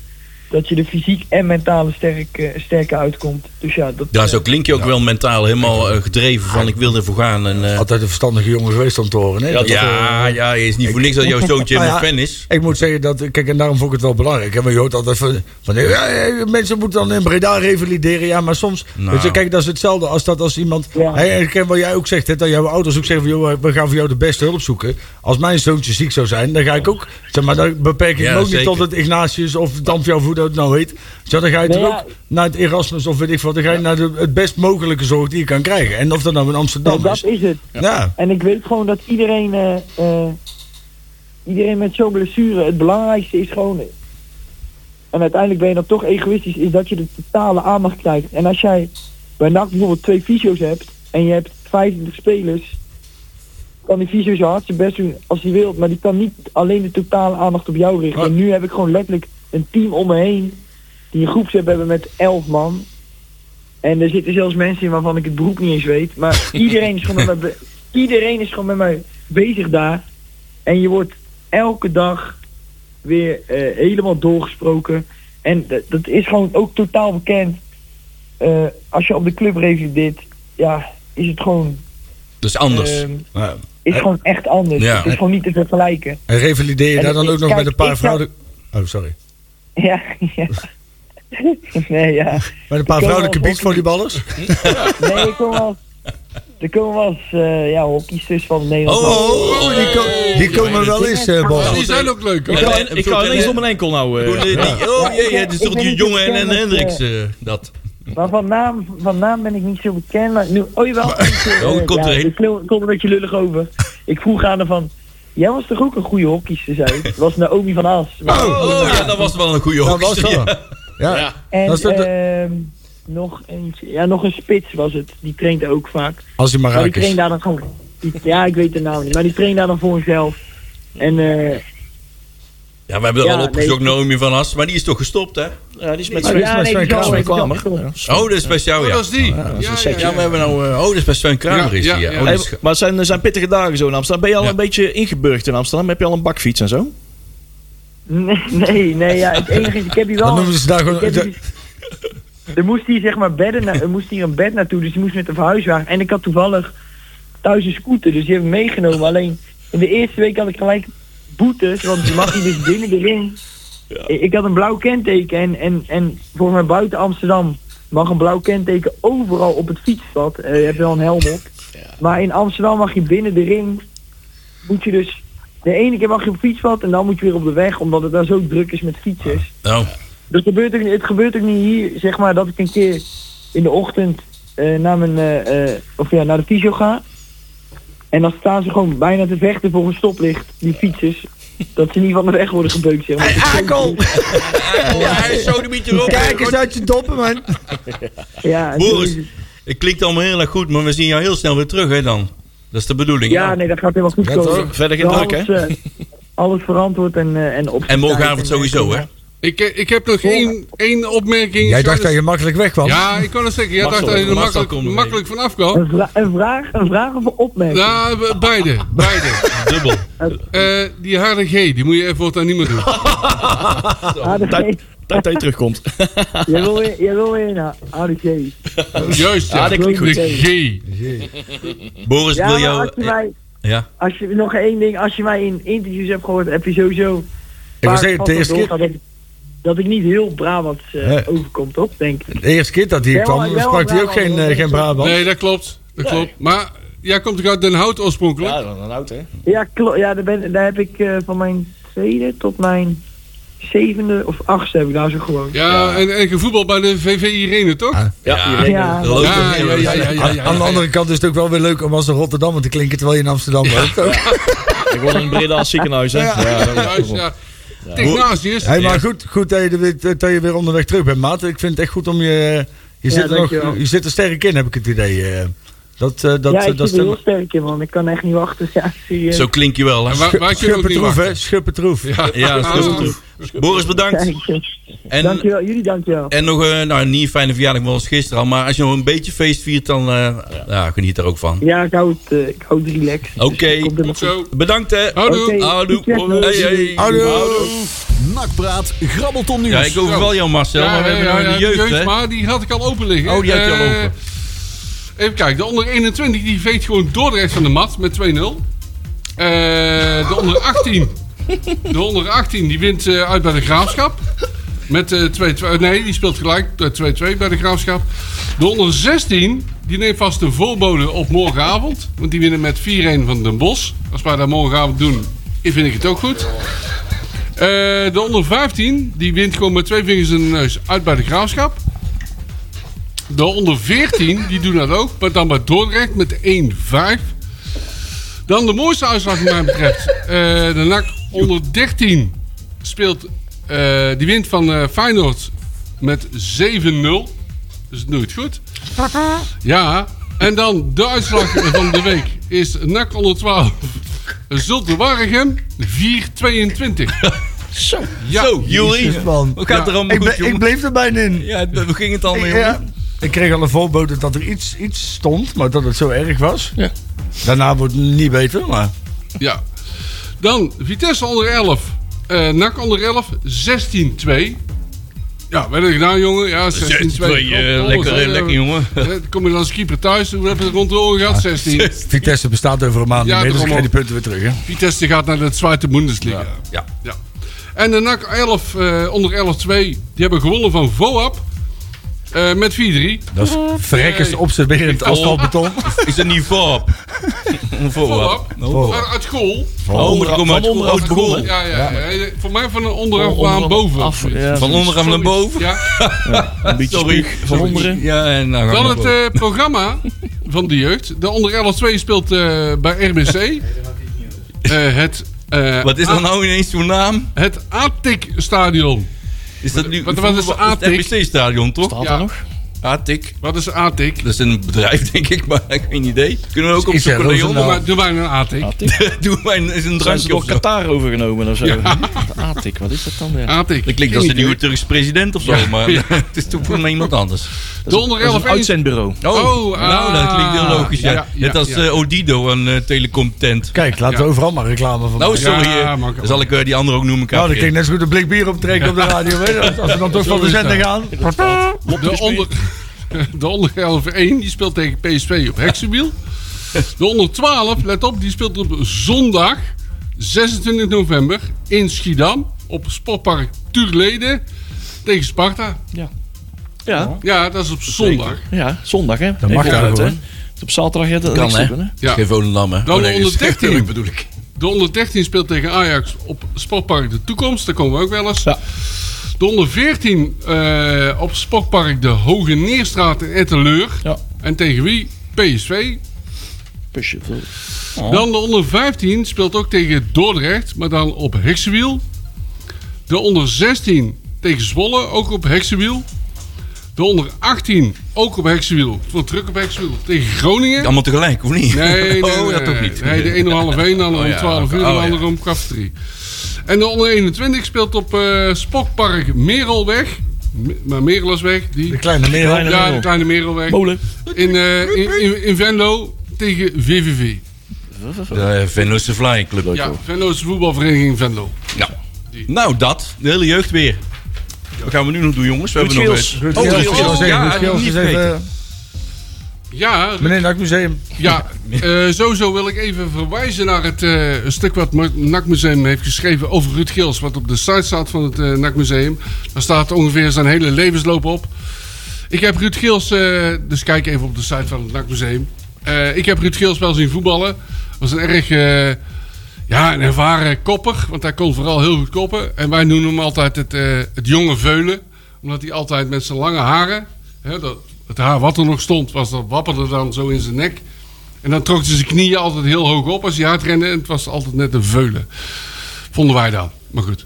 Speaker 7: dat je er fysiek en mentaal sterk, eh, sterker uitkomt. Dus ja, dat...
Speaker 2: ja,
Speaker 7: eh,
Speaker 2: zo klink je ook wel mentaal helemaal eh, gedreven van ik wil ervoor gaan. En, eh,
Speaker 4: Altijd een verstandige jongen geweest om te horen. Hè? Dat-
Speaker 2: ja, ja, je is niet voor niks dat jouw zoontje
Speaker 4: Nou
Speaker 2: een
Speaker 4: ja,
Speaker 2: fan is.
Speaker 4: Ik moet zeggen dat, kijk, en daarom vond ik het wel belangrijk. Hè? Want je hoort altijd van, van ja, ja, mensen moeten dan in Breda revalideren. Ja, maar soms,
Speaker 2: Nou.
Speaker 4: weet je, kijk, dat is hetzelfde als dat als iemand.
Speaker 7: Ja.
Speaker 4: Hey, ik ken wat jij ook zegt, hè, dat jouw ouders ook zeggen van, joh, we gaan voor jou de beste hulp zoeken. Als mijn zoontje ziek zou zijn, dan ga ik ook, zeg maar, dan beperk ik
Speaker 2: Ja,
Speaker 4: me ook
Speaker 2: zeker.
Speaker 4: niet tot het Ignatius of Dampjouw, hoe dat het nou heet. Zo, dan ga je
Speaker 7: Nee,
Speaker 4: toch
Speaker 7: ja.
Speaker 4: ook naar het Erasmus of weet ik wat, dan ga je naar de, het best mogelijke zorg die je kan krijgen. En of dat nou in Amsterdam
Speaker 7: dat
Speaker 4: is.
Speaker 7: is het.
Speaker 4: Ja.
Speaker 7: En ik weet gewoon dat iedereen, eh, eh, iedereen met zo'n blessure, het belangrijkste is gewoon, en uiteindelijk ben je dan toch egoïstisch, is dat je de totale aandacht krijgt. En als jij bij NAC bijvoorbeeld twee fysio's hebt en je hebt 25 spelers, kan die fysio zijn hart zijn best doen als hij wil, maar die kan niet alleen de totale aandacht op jou richten. En nu heb ik gewoon letterlijk een team om me heen die een groepsapp hebben met 11 man. En er zitten zelfs mensen in waarvan ik het beroep niet eens weet. Maar iedereen is gewoon met mij, be- iedereen is gewoon met mij bezig daar. En je wordt elke dag weer eh, helemaal doorgesproken. En d- dat is gewoon ook totaal bekend. Eh, als je op de club revalideert, ja, is het gewoon,
Speaker 2: Dat is anders.
Speaker 7: ehm,
Speaker 4: Ja.
Speaker 7: is gewoon echt anders.
Speaker 2: Ja.
Speaker 7: Het is gewoon niet te vergelijken.
Speaker 4: En revalideer je
Speaker 7: En
Speaker 4: daar dan
Speaker 7: ik-
Speaker 4: ook nog
Speaker 7: kijk,
Speaker 4: met een paar
Speaker 7: ik zou-
Speaker 4: vrouwen... Oh, sorry.
Speaker 7: Ja, ja. Nee, ja.
Speaker 4: Met een paar
Speaker 7: Ik kan wel
Speaker 4: vrouwelijke
Speaker 7: hockey-
Speaker 4: beachvolleyballers?
Speaker 7: Nee, er komen wel eens, er komen wel eens eh, ja, hockey's tussen van Nederland.
Speaker 2: Oh, oh, oh,
Speaker 4: Oh, die, ko- die komen wel eens, eh
Speaker 3: Ja,
Speaker 4: Bas.
Speaker 3: die zijn ook leuk, hoor.
Speaker 2: Ja.
Speaker 5: Ik- Ik ga ineens om mijn enkel nou. eh.
Speaker 2: Toen, eh, die- oh jee, het is
Speaker 7: ik
Speaker 2: toch
Speaker 7: ben
Speaker 2: die
Speaker 7: niet
Speaker 2: jongen en, en
Speaker 7: bekend met,
Speaker 2: Hendricks eh, dat.
Speaker 7: Maar van naam, van naam ben ik niet zo bekend. Maar nu, oh jawel.
Speaker 2: Oh,
Speaker 7: wel.
Speaker 2: er komt er een.
Speaker 7: Ik klom- klom een beetje lullig over. Ik vroeg aan haar van... Jij was toch ook een goede hockeyster, zei ik. Dat was Naomi van As. Maar-
Speaker 2: Oh, ja, dat was wel een goede
Speaker 4: Dat was
Speaker 2: hockeyster.
Speaker 4: wel.
Speaker 2: ja.
Speaker 4: Ja.
Speaker 7: en
Speaker 4: dat is toch de-
Speaker 7: ehm, nog, eentje, ja, nog een spits was het. Die traint ook vaak.
Speaker 4: Als hij maar
Speaker 7: Maar die
Speaker 4: raak is.
Speaker 7: traint daar dan gewoon... die- ja, ik weet de naam niet. Maar die traint daar dan voor zichzelf. En eh
Speaker 2: we hebben er
Speaker 7: Ja,
Speaker 2: al
Speaker 7: nee.
Speaker 2: opgezocht, Naomi van As, maar die is toch gestopt, hè?
Speaker 5: Ja, die is met
Speaker 4: Maar
Speaker 5: Sven-
Speaker 4: die is met Sven
Speaker 7: die zal-
Speaker 4: Kramer.
Speaker 5: Sven
Speaker 7: die zal-
Speaker 5: Kramer.
Speaker 7: die zal-
Speaker 5: Ja.
Speaker 2: Oh, dat is best jou,
Speaker 3: Oh,
Speaker 2: ja.
Speaker 3: dat is die.
Speaker 5: dat is een
Speaker 3: Ja,
Speaker 5: setje.
Speaker 2: Ja, we hebben nou... eh, oh, dat is best Sven Kramer is
Speaker 3: Ja,
Speaker 2: die,
Speaker 3: ja,
Speaker 2: ja.
Speaker 3: ja.
Speaker 2: Oh,
Speaker 5: Hey,
Speaker 2: dat is ge-
Speaker 5: maar het zijn, er zijn pittige dagen zo in Amsterdam. Ben je al
Speaker 2: Ja.
Speaker 5: een beetje ingeburgd in Amsterdam? Heb je al een bakfiets en zo?
Speaker 7: Nee, nee, nee, ja, het enige is, ik heb hier wel...
Speaker 4: Dan noemen ze daar gewoon-
Speaker 7: ik heb hier- er moest hier zeg maar bedden, na- er moest hier een bed naartoe, dus die moest met een verhuiswagen. En ik had toevallig thuis een scooter, dus die heb ik meegenomen. Alleen, in de eerste week had ik gelijk boetes, want je mag hier dus binnen de ring. Ik, ik had een blauw kenteken en, en, en volgens mij buiten Amsterdam mag een blauw kenteken overal op het fietspad. Eh, je hebt wel een helm op. Maar in Amsterdam mag je binnen de ring, moet je dus... De ene keer mag je op het fietspad en dan moet je weer op de weg, omdat het daar zo druk is met fietsers.
Speaker 2: nou,
Speaker 7: Dat gebeurt ook, niet- het gebeurt ook niet hier, zeg maar, dat ik een keer in de ochtend eh, naar, mijn, eh, eh, of ja, naar de fysio ga. En dan staan ze gewoon bijna te vechten voor een stoplicht, die fietsers. Dat ze niet van de weg worden gebeukt, zeg maar.
Speaker 4: Akel!
Speaker 2: Oh, ja, hij is zo de beetje erop.
Speaker 4: Kijk eens uit je doppen, man.
Speaker 7: Ja, en
Speaker 2: Boris.
Speaker 7: toen is het-
Speaker 2: Het klinkt allemaal heel erg goed, maar we zien jou heel snel weer terug, hè, dan. Dat is de bedoeling,
Speaker 7: ja,
Speaker 2: ja.
Speaker 7: nee, dat gaat helemaal goed
Speaker 4: Ja,
Speaker 7: komen.
Speaker 4: toch?
Speaker 5: Verder geen
Speaker 7: Nou,
Speaker 5: druk, hè?
Speaker 7: alles, eh, alles verantwoord en, eh, en op
Speaker 2: En
Speaker 7: zijn tijd.
Speaker 2: morgenavond sowieso, hè.
Speaker 3: Ik, ik heb nog één, één opmerking.
Speaker 4: Jij dacht dat je makkelijk weg kwam.
Speaker 3: Ja, ik kan het zeggen. Jij
Speaker 5: Marcel,
Speaker 3: dacht dat je er
Speaker 2: Marcel
Speaker 3: makkelijk,
Speaker 2: komt er
Speaker 3: makkelijk vanaf kwam.
Speaker 7: Een, vra- een, vraag, een vraag of een opmerking?
Speaker 3: Ja, we- beide. beide.
Speaker 2: Dubbel.
Speaker 3: Eh, die harde G, die moet je even voortaan niet meer doen.
Speaker 7: Ah, dat
Speaker 5: Tijd
Speaker 7: geeft.
Speaker 5: tijd dat je terugkomt.
Speaker 7: Jij wil weer- jij wil nou, weer naar ADG.
Speaker 3: Juist, ja.
Speaker 5: Ah, dat klinkt goed.
Speaker 3: De G.
Speaker 2: Boris,
Speaker 7: Ja,
Speaker 2: wil
Speaker 7: maar
Speaker 2: jou... eh,
Speaker 7: als je mij...
Speaker 2: Ja.
Speaker 7: Als je, nog één ding, als je mij in interviews hebt gehoord, heb je sowieso...
Speaker 4: Ik was
Speaker 7: vaak
Speaker 4: de
Speaker 7: van
Speaker 4: eerste
Speaker 7: gehoord
Speaker 4: keer,
Speaker 7: Dat ik, dat ik niet heel Brabant eh,
Speaker 4: Nee.
Speaker 7: overkom, toch? Denk ik.
Speaker 4: de eerste keer dat hij
Speaker 7: Ja,
Speaker 4: hier
Speaker 7: maar-
Speaker 4: kwam,
Speaker 7: ja,
Speaker 4: sprak hij ook
Speaker 7: Brabant,
Speaker 4: geen,
Speaker 7: dat
Speaker 4: eh,
Speaker 7: is
Speaker 4: geen
Speaker 7: ook-
Speaker 4: Brabant.
Speaker 3: Nee, dat klopt. Dat klopt. Maar jij komt toch uit Den Hout oorspronkelijk?
Speaker 5: Ja, dan oud, hè?
Speaker 7: Ja, klopt. Ja, daar, ben, daar heb ik eh, van mijn tweede tot mijn zevende of achtste heb ik daar zo gewoon.
Speaker 3: Ja, en, en gevoetbald bij de VV Irene, toch?
Speaker 5: Ja,
Speaker 7: Ja.
Speaker 2: dat loopt
Speaker 3: Ja,
Speaker 2: toch heel erg.
Speaker 3: ja, ja, ja.
Speaker 4: Aan aan de andere kant is het ook wel weer leuk om als een Rotterdammer te klinken terwijl je in Amsterdam woont.
Speaker 5: Ik word in Breda als ziekenhuis, hè? Ja, dat is
Speaker 3: Juist,
Speaker 5: goed.
Speaker 3: ja. Technasius.
Speaker 4: Hey, maar goed, goed dat, je, er weer- dat je weer onderweg terug bent, maat. Ik vind het echt goed om je... Je, zit, er nog,
Speaker 7: dankjewel.
Speaker 4: je zit er sterk in, heb ik het idee. eh. Dat, eh, dat,
Speaker 7: ja, ik
Speaker 4: eh, dat
Speaker 7: zit er heel
Speaker 4: stem-
Speaker 7: sterk in, man. Ik kan echt niet wachten. Ja, serieus.
Speaker 2: Zo klink je wel,
Speaker 3: En
Speaker 2: hè.
Speaker 3: waar, waar kun je ook niet
Speaker 4: Schuppertroef, hè?
Speaker 3: wachten?
Speaker 4: Schuppertroef.
Speaker 2: Ja, dat is
Speaker 3: Ah.
Speaker 2: goed. Boris, bedankt.
Speaker 7: Kijk, eh,
Speaker 2: En,
Speaker 7: dankjewel, jullie dankjewel.
Speaker 2: en nog, eh, nou, niet een fijne verjaardag wel als gisteren al, maar als je nog een beetje feest viert, dan eh, ja, geniet daar ook van.
Speaker 7: Ja, ik hou het, eh, ik hou het relaxed. Dus
Speaker 2: Oké.
Speaker 7: het komt helemaal
Speaker 3: Goed
Speaker 7: goed.
Speaker 3: zo.
Speaker 2: Bedankt, hè.
Speaker 3: Houdoe.
Speaker 7: Oké.
Speaker 2: Houdoe.
Speaker 7: Succes,
Speaker 2: Hey, hey.
Speaker 1: Nakpraat, grabbelton nieuws.
Speaker 2: Ja, ik overval jou, Marcel, maar we hebben nog
Speaker 3: ja,
Speaker 2: een jeugd, hè.
Speaker 3: maar die had ik al open liggen.
Speaker 2: Oh, die had je al
Speaker 3: Eh,
Speaker 2: open.
Speaker 3: Even kijken, de onder 21 die veegt gewoon Dordrecht van de mat met 2-0. Eh, de onder 18. De onder 18 die wint eh, uit bij de Graafschap. Met eh, 2-2. nee, die speelt gelijk eh, 2-2 bij de Graafschap. De onder 16 die neemt vast een voorbode op morgenavond. Want die winnen met 4-1 van Den Bosch. Als wij dat morgenavond doen, vind ik het ook goed. Eh, de onder 15 die wint gewoon met twee vingers in de neus uit bij de graafschap. De onder 14 die doen dat ook, maar dan bij Dordrecht met 1-5. Dan de mooiste uitslag, wat mij betreft. Eh, de NAC onder 13 speelt. eh, die wint van eh, Feyenoord met 7-0. Dus het nooit goed. Ja, en dan de uitslag van de week is NAC onder 12. Zulte Waregem 422.
Speaker 5: Zo.
Speaker 3: Ja.
Speaker 2: Zo, Jury.
Speaker 4: Jezus, man.
Speaker 2: Hoe gaat het er allemaal
Speaker 4: Ik,
Speaker 2: goed,
Speaker 4: ble- ik
Speaker 2: jongen?
Speaker 4: bleef er bijna in.
Speaker 2: Ja, hoe ging het allemaal,
Speaker 4: Ik,
Speaker 2: jongen?
Speaker 4: ja, ik kreeg al een voorbode dat er iets, iets stond, maar dat het zo erg was. Daarna wordt het niet beter, maar...
Speaker 3: Ja. Dan Vitesse onder 11. eh NAC onder 11, 16-2. Ja, wat heb je gedaan, jongen? Ja, 16, 2.
Speaker 2: Twee, eh, lekker, lekker, jongen.
Speaker 3: Eh, Kom je dan als keeper thuis? Hoe heb je het rond de oren gehad? 16.
Speaker 4: Vitesse bestaat over een maand
Speaker 3: Ja,
Speaker 4: niet meer, dus ik
Speaker 3: daarom
Speaker 4: krijg die punten weer terug. Hè?
Speaker 3: Vitesse gaat naar de Zweite Bundesliga.
Speaker 4: Ja.
Speaker 3: Ja. En de NAC 11, eh, onder 11-2, die hebben gewonnen van VOAP. eh, met 4-3.
Speaker 4: Dat is verrekkers
Speaker 3: Nee.
Speaker 4: observerend asfaltbeton.
Speaker 2: Is dat niet voorop? Voorop.
Speaker 3: VOAP.
Speaker 4: Oh.
Speaker 3: Uit- Uit school.
Speaker 2: Oh, er komen uit
Speaker 5: Van onderaf
Speaker 2: uit school.
Speaker 5: begonnen.
Speaker 3: Ja, ja, ja. Voor mij van onderaf
Speaker 5: Van
Speaker 3: aan
Speaker 5: onderaf
Speaker 3: boven.
Speaker 5: af, ja.
Speaker 2: Van onderaf naar boven.
Speaker 3: Ja.
Speaker 5: Een beetje
Speaker 2: Sorry.
Speaker 5: spuug van onderen.
Speaker 2: Ja, en nou gaan
Speaker 3: Dan
Speaker 2: we
Speaker 3: het
Speaker 2: door.
Speaker 3: eh, programma van de jeugd. De onder 11-2 speelt eh, bij RBC. Eh, het, eh,
Speaker 2: Wat is nou?
Speaker 3: A-
Speaker 5: ah.
Speaker 2: dat nou ineens zo'n naam?
Speaker 3: Het ATIC Stadion.
Speaker 2: Is dat nu
Speaker 3: Wat- wat is
Speaker 2: het
Speaker 3: Atik?
Speaker 2: RBC-stadion, toch?
Speaker 5: Staat
Speaker 3: Ja.
Speaker 5: er nog?
Speaker 2: Atik.
Speaker 3: Wat is ATIC?
Speaker 2: Dat is een bedrijf, denk ik, maar ik heb geen idee. Kunnen we ook
Speaker 4: Is- is
Speaker 2: opzoeken,
Speaker 4: er
Speaker 2: Leon?
Speaker 3: Doe
Speaker 4: Nou.
Speaker 3: maar, doe maar een ATIC.
Speaker 5: Ah, tik.
Speaker 2: Doe mij een, eens een
Speaker 5: Zijn ze
Speaker 2: drankje
Speaker 5: door
Speaker 2: of
Speaker 3: eh,
Speaker 2: zo.
Speaker 5: Qatar overgenomen of zo? Atik, wat is dat dan? Ja.
Speaker 3: ATIC.
Speaker 2: Dat klinkt als de nieuwe Turkse president of zo, maar het is toch voor mij iemand anders.
Speaker 3: De onder
Speaker 5: Dat is een
Speaker 3: 11-1
Speaker 5: uitzendbureau.
Speaker 3: Oh,
Speaker 2: nou, dat klinkt heel
Speaker 3: ah.
Speaker 2: logisch. Ja.
Speaker 3: Ja, ja,
Speaker 2: Net als
Speaker 3: ja.
Speaker 2: eh, Odido aan eh, Telecom Tent.
Speaker 4: Kijk, laten we overal maar reclame van
Speaker 2: Nou,
Speaker 4: maken.
Speaker 2: sorry. eh,
Speaker 3: Ja, maar-
Speaker 2: dan zal ik eh, die andere ook noemen.
Speaker 4: Nou, dan
Speaker 2: Kaapje.
Speaker 4: kun je net zo goed een blik bier optrekken op de radio. weet je. Als we dan toch van de zender gaan.
Speaker 3: De onder, de onder 11-1 die speelt tegen PSV op Heksenwiel. De onder 12, let op, die speelt op zondag 26 november in Schiedam op Sportpark Turlede tegen Sparta.
Speaker 5: Ja,
Speaker 3: Ja, dat is op zondag.
Speaker 5: ja, zondag hè.
Speaker 4: Dat mag
Speaker 5: Even
Speaker 4: daar
Speaker 5: opletten,
Speaker 4: gewoon.
Speaker 5: hè. Het is Op zaterdag ja, dat
Speaker 2: Kan,
Speaker 5: niks te
Speaker 2: hè?
Speaker 5: doen, hè.
Speaker 3: Ja.
Speaker 2: Geen Volendam, hè?
Speaker 3: Dan
Speaker 2: Oh, nee, dat is
Speaker 3: onder 13.
Speaker 2: Schipper, bedoel ik.
Speaker 3: De onder 13 speelt tegen Ajax op Sportpark De Toekomst. Daar komen we ook wel eens.
Speaker 5: Ja.
Speaker 3: De onder 14 eh, op Sportpark De Hoge Neerstraat in Etteleur.
Speaker 5: Ja.
Speaker 3: En tegen wie? PSV.
Speaker 5: Pusje.
Speaker 3: Dan de onder 15 speelt ook tegen Dordrecht, maar dan op heksenwiel. De onder 16 tegen Zwolle, ook op heksenwiel. De onder 18 ook op heksenwiel. Voor druk op heksenwiel tegen Groningen.
Speaker 2: Allemaal tegelijk, of niet?
Speaker 3: Nee, nee,
Speaker 2: oh,
Speaker 3: nee,
Speaker 2: ja, toch
Speaker 3: nee.
Speaker 2: niet.
Speaker 3: Nee, de ene om half 1, de andere
Speaker 2: Oh,
Speaker 3: om
Speaker 2: ja,
Speaker 3: 12 uur,
Speaker 2: oh,
Speaker 3: de
Speaker 2: ja.
Speaker 3: andere om kwart voor drie. En de onder 21 speelt op eh Spokpark Merelweg. Me- Maar Merel is weg. Die...
Speaker 4: De kleine
Speaker 5: Kleine-
Speaker 4: merel.
Speaker 3: ja, de
Speaker 5: Merel.
Speaker 3: kleine Merelweg.
Speaker 5: Molen.
Speaker 3: In, eh, in, in, in Venlo tegen VVV.
Speaker 2: De Venlose Fly Club.
Speaker 3: Ja, Venlo is de voetbalvereniging Venlo.
Speaker 2: Nou, nou, dat. De hele jeugd weer. Wat gaan we nu nog doen, jongens? We
Speaker 5: Ruud
Speaker 2: hebben nog
Speaker 5: Geels.
Speaker 2: eens-
Speaker 4: Ruud
Speaker 2: Oh,
Speaker 4: Geels,
Speaker 2: Ruud
Speaker 4: ik wil
Speaker 2: Geels.
Speaker 4: zeggen,
Speaker 2: Ja,
Speaker 4: Ruud Geels
Speaker 2: niet
Speaker 4: is even,
Speaker 2: vergeten.
Speaker 3: Ja,
Speaker 4: eh, Meneer Nak Museum.
Speaker 3: ja eh, sowieso wil ik even verwijzen naar het eh, stuk wat Mar- NAC Museum heeft geschreven over Ruud Geels. Wat op de site staat van het eh, NAC Museum. Daar staat ongeveer zijn hele levensloop op. Ik heb Ruud Geels, eh, dus kijk even op de site van het NAC Museum. Eh, ik heb Ruud Geels wel zien voetballen. Was een erg eh, ja, een ervaren kopper, want hij kon vooral heel goed koppen. En wij noemen hem altijd het, eh, het jonge veulen, omdat hij altijd met zijn lange haren, hè, dat, het haar wat er nog stond, was dat wapperde dan zo in zijn nek. En dan trok hij zijn knieën altijd heel hoog op als hij hard rende. En het was altijd net een veulen. Vonden wij dan. Maar goed.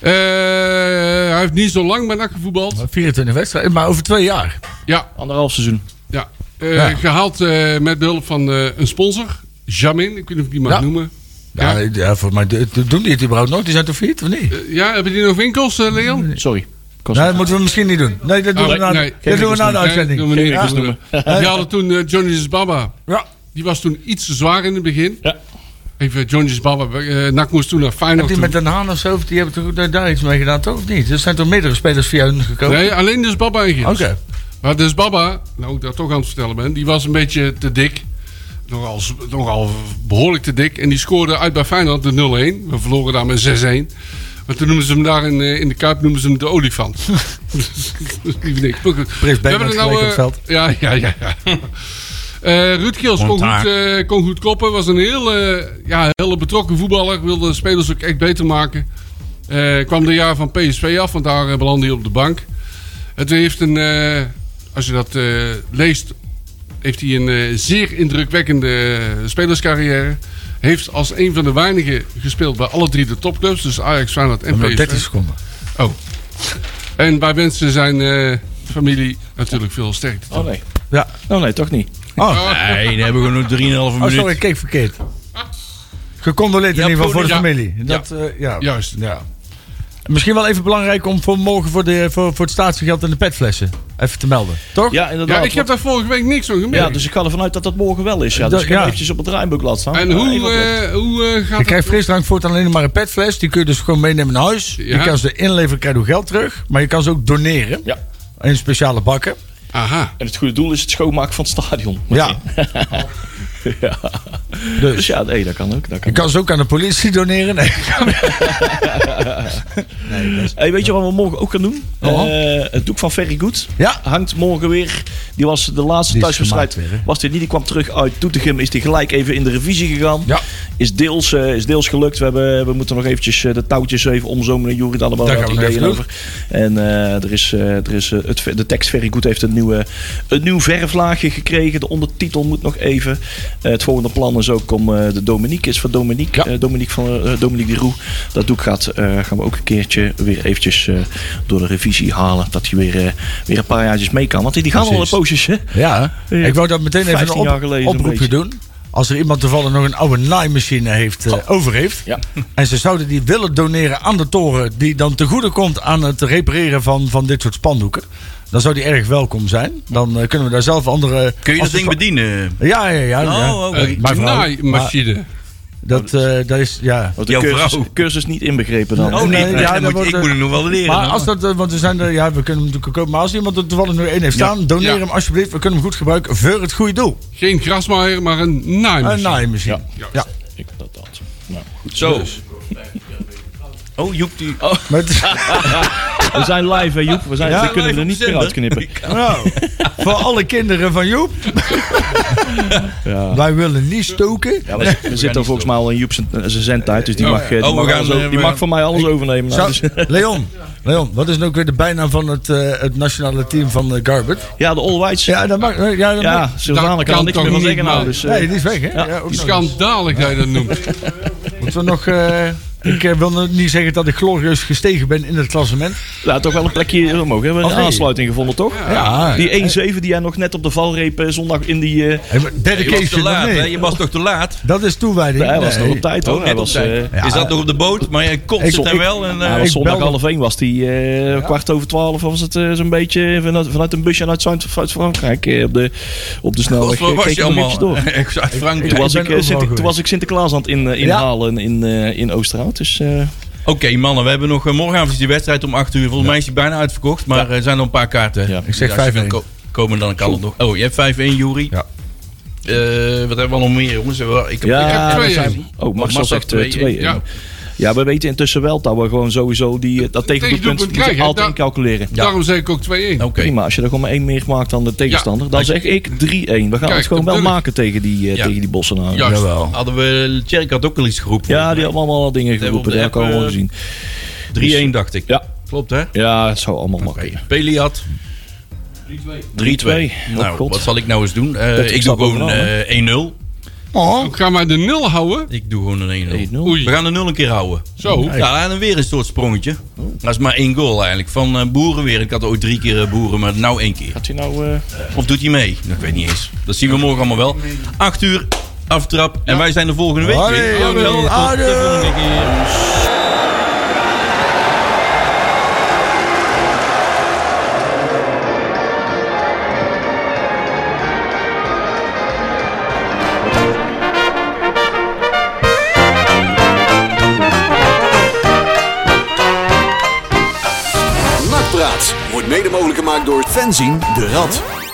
Speaker 3: Eh, hij heeft niet zo lang bij NAC gevoetbald.
Speaker 4: 24 wedstrijden, maar over twee jaar.
Speaker 3: Ja,
Speaker 5: Anderhalf seizoen.
Speaker 3: ja. Eh,
Speaker 4: Ja.
Speaker 3: Gehaald eh, met behulp van eh, een sponsor. Jamin, ik weet niet of ik die mag
Speaker 4: Ja.
Speaker 3: noemen. Ja.
Speaker 4: Ja, ja. voor mij d- d- doen die het überhaupt nooit. Die zijn toch failliet, of niet?
Speaker 3: Eh, ja, hebben die nog winkels, eh, Leon?
Speaker 5: Sorry. Kost
Speaker 4: Nee, dat moeten we misschien niet doen. Nee, dat doen
Speaker 3: Oh,
Speaker 4: we na,
Speaker 3: nee,
Speaker 4: dat
Speaker 3: geen
Speaker 4: doen we na de
Speaker 3: Nee, doen
Speaker 4: uitzending.
Speaker 3: we niet.
Speaker 5: Geen winkels
Speaker 3: Doen we
Speaker 5: noemen.
Speaker 3: niet. Die hadden toen eh, Johnny's Baba.
Speaker 4: Ja.
Speaker 3: Die was toen iets te zwaar in het begin.
Speaker 5: Ja.
Speaker 3: Even Johnny's Baba. eh Nak moest toen naar
Speaker 4: Heb
Speaker 3: Feyenoord
Speaker 4: die
Speaker 3: toe.
Speaker 4: met Den Haan of zo, of die hebben toch daar, daar iets mee gedaan, toch? Of niet? Er zijn toch meerdere spelers via hun gekomen?
Speaker 3: Nee, alleen dus Baba en Gils.
Speaker 4: Oké.
Speaker 3: Maar dus Baba, nou ik daar toch aan het vertellen ben, die was een beetje te dik. Nogal, z- nogal behoorlijk te dik. En die scoorde uit bij Feyenoord de 0-1. We verloren daar met 6-1. Maar toen noemden ze hem daar in, eh, in de Kuip noemden ze hem de olifant. Dus, Lieve niks. Maar goed.
Speaker 4: Prins Bernhard
Speaker 3: er nou,
Speaker 4: gelijk op
Speaker 3: eh,
Speaker 4: het veld.
Speaker 3: Ja, ja, ja. ja. Eh, Ruud Kiels kon
Speaker 2: Montaar.
Speaker 3: goed, eh, kon goed koppen. Was een heel, eh, ja, hele betrokken voetballer. Wilde de spelers ook echt beter maken. Eh, kwam de jaar van PSV af, want daar eh, belandde hij op de bank. Het heeft een, eh, als je dat eh, leest, heeft hij een eh, zeer indrukwekkende spelerscarrière. Heeft als een van de weinigen gespeeld bij alle drie de topclubs. Dus Ajax, Feyenoord en
Speaker 4: Dan nog
Speaker 3: PSV.
Speaker 4: 30 seconden.
Speaker 3: Oh. En wij wensen zijn eh, familie natuurlijk veel sterkte.
Speaker 5: Oh nee.
Speaker 4: Ja.
Speaker 5: Oh nee, toch niet.
Speaker 2: Nee, dan hebben we nog 3,5
Speaker 4: Oh, sorry,
Speaker 2: minuten.
Speaker 4: ik keek verkeerd. Gecondoleerd in ieder geval voor de
Speaker 3: ja.
Speaker 4: familie. Dat, eh, ja.
Speaker 3: Juist.
Speaker 4: Ja. Misschien wel even belangrijk om voor morgen voor, de, voor, voor het statiegeld en de petflessen. even te melden. Toch?
Speaker 5: Ja, inderdaad.
Speaker 3: Ja, ik heb
Speaker 5: want-
Speaker 3: daar vorige week niks van gemerkt.
Speaker 5: ja, dus ik ga ervan uit dat dat morgen wel is. Ja.
Speaker 4: Dat-
Speaker 5: Dus ik heb
Speaker 4: ja.
Speaker 5: hem eventjes op het draaiboek laten staan.
Speaker 3: En
Speaker 5: Ja,
Speaker 3: hoe,
Speaker 5: even-
Speaker 3: eh, hoe eh, gaat
Speaker 4: Je krijgt
Speaker 3: het?
Speaker 4: frisdrank voortaan alleen maar een petfles. Die kun je dus gewoon meenemen naar huis.
Speaker 3: Ja.
Speaker 4: Je kan ze inleveren, krijg je geld terug. Maar je kan ze ook doneren.
Speaker 5: Ja.
Speaker 4: In speciale bakken.
Speaker 3: Aha.
Speaker 5: En het goede doel is het schoonmaken van het stadion.
Speaker 4: Ja.
Speaker 5: Ja.
Speaker 4: Dus.
Speaker 5: Dus ja, nee, dat kan ook. Dat kan
Speaker 4: Je kan ze ook aan de politie doneren. Nee.
Speaker 5: Hey, Eh, weet je wat we morgen ook gaan doen?
Speaker 4: Oh.
Speaker 5: Eh, het doek van Ferry Goed
Speaker 4: Ja.
Speaker 5: hangt morgen weer. Die was de laatste
Speaker 4: Die is
Speaker 5: thuiswedstrijd.
Speaker 4: gemaakt weer, hè?
Speaker 5: Was dit niet? Die kwam terug uit Doetinchem. Is die gelijk even in de revisie gegaan.
Speaker 4: Ja.
Speaker 5: Is, deels, eh, is deels gelukt. We, hebben, we moeten nog eventjes eh, de touwtjes even omzomen. Jury daar wel
Speaker 4: Daar
Speaker 5: wat
Speaker 4: gaan we
Speaker 5: ideeën
Speaker 4: even
Speaker 5: over. En eh, er is, eh, er is eh, het, ver- de tekst Ferry Goed heeft een, nieuwe, een nieuw verflaagje gekregen. De ondertitel moet nog even. Eh, het volgende plan is ook om eh, de Dominique is van Dominique. eh, Dominique van eh, Dominique de Roe. Dat doek gaat, eh, gaan we ook een keertje weer eventjes eh, door de revisie halen. Dat hij weer, eh, weer een paar jaartjes mee kan. Want die die gaan al een
Speaker 4: Precies.
Speaker 5: poosjes, hè?
Speaker 4: Ja,
Speaker 5: Ja.
Speaker 4: ik wou dat meteen even
Speaker 5: 15
Speaker 4: een op-
Speaker 5: jaar geleden zo'n
Speaker 4: oproepje
Speaker 5: beetje.
Speaker 4: doen. Als er iemand toevallig nog een oude naaimachine heeft, eh,
Speaker 2: Oh.
Speaker 4: over heeft.
Speaker 5: Ja.
Speaker 4: En ze zouden die willen doneren aan de toren. Die dan te goede komt aan het repareren van, van dit soort spandoeken. Dan zou die erg welkom zijn. Dan eh, kunnen we daar zelf andere...
Speaker 2: Kun je dat
Speaker 4: als we
Speaker 2: ding
Speaker 4: van-
Speaker 2: bedienen?
Speaker 4: Ja, ja, ja. ja.
Speaker 2: Oh, oké.
Speaker 3: Een
Speaker 4: Mijn vrouw.
Speaker 3: naaimachine.
Speaker 4: Dat, eh, dat is... Ja.
Speaker 5: Want de
Speaker 2: Jouw
Speaker 5: cursus,
Speaker 2: vrouw.
Speaker 5: cursus niet inbegrepen dan.
Speaker 4: Nee.
Speaker 2: Oh nee,
Speaker 4: ja,
Speaker 2: nee,
Speaker 4: dat
Speaker 2: dan moet,
Speaker 4: wordt,
Speaker 2: ik
Speaker 4: eh,
Speaker 2: moet hem nog wel leren.
Speaker 4: Maar
Speaker 2: hoor.
Speaker 4: als dat, eh, want we zijn er, ja, we kunnen hem natuurlijk ook kopen. Maar als iemand er toevallig nog één heeft staan, doneer
Speaker 3: Ja.
Speaker 4: hem alsjeblieft. We kunnen hem goed gebruiken voor het goede doel.
Speaker 3: Geen grasmaaier, maar een
Speaker 4: Een
Speaker 3: naaimachine.
Speaker 4: naaimachine.
Speaker 3: Ja.
Speaker 4: Ja.
Speaker 5: Ik, dat, dat. Nou, goed.
Speaker 2: Zo. Oh, Joep die... Oh,
Speaker 4: Maar het is-
Speaker 5: We zijn live, hè, Joep. We, zijn,
Speaker 4: Ja,
Speaker 5: we kunnen
Speaker 2: live
Speaker 5: er
Speaker 2: op
Speaker 5: niet meer
Speaker 2: zender.
Speaker 5: uitknippen.
Speaker 4: Nou, voor alle kinderen van Joep. Wij willen niet stoken.
Speaker 5: Ja, we, we zitten volgens mij al in Joep zijn- zijn zendtijd, dus die
Speaker 2: Oh,
Speaker 5: mag,
Speaker 2: ja.
Speaker 5: eh, die
Speaker 2: Oh, we
Speaker 5: mag,
Speaker 2: gaan,
Speaker 5: alles
Speaker 2: eh,
Speaker 5: o- die
Speaker 2: we-
Speaker 5: mag van mij alles overnemen. nou,
Speaker 4: Zou-
Speaker 5: dus-
Speaker 4: Leon, Leon, wat is nou ook weer de bijnaam van het, eh, het nationale team van eh, Garbert?
Speaker 5: ja, de All Whites. Ja,
Speaker 4: Ja, dat mag. eh, Ja, dat mag.
Speaker 3: Dat
Speaker 5: Sylvana kan er
Speaker 3: kan
Speaker 5: niks
Speaker 3: toch
Speaker 5: meer van
Speaker 3: niet,
Speaker 5: zeggen. Nou,
Speaker 3: man.
Speaker 5: dus, eh,
Speaker 4: Nee, die is weg, hè?
Speaker 5: Ja.
Speaker 4: Ja, ook nog eens.
Speaker 3: Schandalig dat je dat noemt.
Speaker 4: Moeten we nog... eh, ik eh, wil nog niet zeggen dat ik glorieus gestegen ben in het klassement.
Speaker 5: nou, toch wel een plekje omhoog. We hebben een
Speaker 4: Of niet?
Speaker 5: aansluiting gevonden, toch?
Speaker 4: Ja.
Speaker 5: Die 1-7 die jij nog net op de valreep eh, zondag in die... eh,
Speaker 4: Hey, maar
Speaker 2: je was te
Speaker 4: Dedication,
Speaker 2: laat,
Speaker 4: of
Speaker 2: hè?
Speaker 4: nee?
Speaker 2: Je was toch te laat?
Speaker 4: Dat is toewijding.
Speaker 5: hij was nog
Speaker 4: Nee.
Speaker 5: op tijd,
Speaker 2: Oh,
Speaker 5: hoor. Hij
Speaker 2: net op
Speaker 5: was,
Speaker 2: tijd.
Speaker 5: eh,
Speaker 2: Je zat nog op de boot, maar je kon het
Speaker 4: Ik-
Speaker 2: en wel. En, eh,
Speaker 5: hij was
Speaker 4: ik
Speaker 5: zondag
Speaker 4: belde-
Speaker 5: half 1 was die eh, kwart over 12 was het eh, zo'n beetje vanuit, vanuit een busje uit Zuid-Frankrijk eh, op, de, op de
Speaker 2: God,
Speaker 5: snelweg.
Speaker 2: waar
Speaker 5: eh,
Speaker 2: was
Speaker 5: keek
Speaker 2: je
Speaker 5: ik nog eventjes
Speaker 2: allemaal?
Speaker 5: door.
Speaker 2: Echt Uit Frankrijk.
Speaker 5: Toen
Speaker 4: Ja,
Speaker 5: was,
Speaker 4: ik
Speaker 5: ik,
Speaker 4: ben overal
Speaker 5: eh, Sinter- toen
Speaker 4: geweest.
Speaker 5: was ik Sinterklaas aan het in, eh, inhalen in, eh, in Oosterhout. Dus, eh,
Speaker 2: Oké mannen, we hebben nog eh, morgenavond is die wedstrijd om 8 uur. Volgens mij is die bijna uitverkocht, maar er zijn nog een paar kaarten. Dus
Speaker 5: Ja.
Speaker 4: Ik zeg
Speaker 2: als je
Speaker 4: 5-1.
Speaker 2: wil ko- Komen dan kan het nog. Oh, je hebt 5-1 Jury.
Speaker 4: Ja.
Speaker 2: Eh, wat hebben we nog meer jongens? We hebben- Ik heb, eh, ik heb
Speaker 5: ja,
Speaker 3: twee
Speaker 5: daar
Speaker 3: één.
Speaker 5: zijn we. Oh, Marcel
Speaker 2: Marcel
Speaker 5: zegt
Speaker 2: twee
Speaker 5: 2
Speaker 2: één,
Speaker 5: Ja.
Speaker 3: ja.
Speaker 5: ja, we weten intussen wel dat we gewoon sowieso die, eh, dat tegendoelpunt
Speaker 3: tegendoelpunt
Speaker 5: moeten
Speaker 3: krijgen,
Speaker 5: altijd
Speaker 3: daar-
Speaker 5: incalculeren.
Speaker 3: Daarom zeg ik ook 2-1.
Speaker 2: Oké.
Speaker 5: Prima, als je er gewoon maar één meer maakt dan de tegenstander, dan zeg ik 3-1. We gaan
Speaker 3: Kijk,
Speaker 5: het gewoon wel
Speaker 3: natuurlijk.
Speaker 5: maken tegen die, eh
Speaker 2: Ja.
Speaker 5: tegen die Bossenaren. Ja,
Speaker 2: Juist.
Speaker 4: Jawel.
Speaker 2: Hadden we, Tjerk had ook al iets geroepen.
Speaker 5: die hebben allemaal wel dingen
Speaker 2: hebben we op
Speaker 5: geroepen,
Speaker 2: de
Speaker 5: dat heb ik
Speaker 2: app,
Speaker 5: al wel
Speaker 2: eh,
Speaker 5: gezien.
Speaker 2: 3-1 dacht ik.
Speaker 5: Ja.
Speaker 2: Klopt hè?
Speaker 5: Ja, het zou allemaal makkelijk.
Speaker 2: Peli had 3-2.
Speaker 5: 3-2. Oh,
Speaker 2: Nou,
Speaker 5: God.
Speaker 2: wat zal ik nou eens doen? Eh,
Speaker 5: Dat
Speaker 2: ik
Speaker 5: is
Speaker 2: doe
Speaker 5: dat
Speaker 2: gewoon
Speaker 5: overal, hè?
Speaker 2: eh, 1-0.
Speaker 4: Oh,
Speaker 3: Ga maar de 0 houden.
Speaker 2: Ik doe gewoon een 1-0.
Speaker 5: 1-0.
Speaker 2: We gaan de 0 een keer houden.
Speaker 3: Zo.
Speaker 2: Ja, en dan weer een soort sprongetje. Dat is maar één goal eigenlijk. Van eh, Boeren weer. Ik had ooit drie keer eh, Boeren, maar nou één keer.
Speaker 5: Gaat hij nou... eh,
Speaker 2: Of doet hij mee? Dat weet ik niet eens. Dat zien we morgen allemaal wel. Acht uur, aftrap. En wij zijn de volgende week
Speaker 4: Hoi,
Speaker 2: weer.
Speaker 4: jawel.
Speaker 2: Tot de volgende keer.
Speaker 1: Nakpraat wordt mede mogelijk gemaakt door Fenzin de Rad.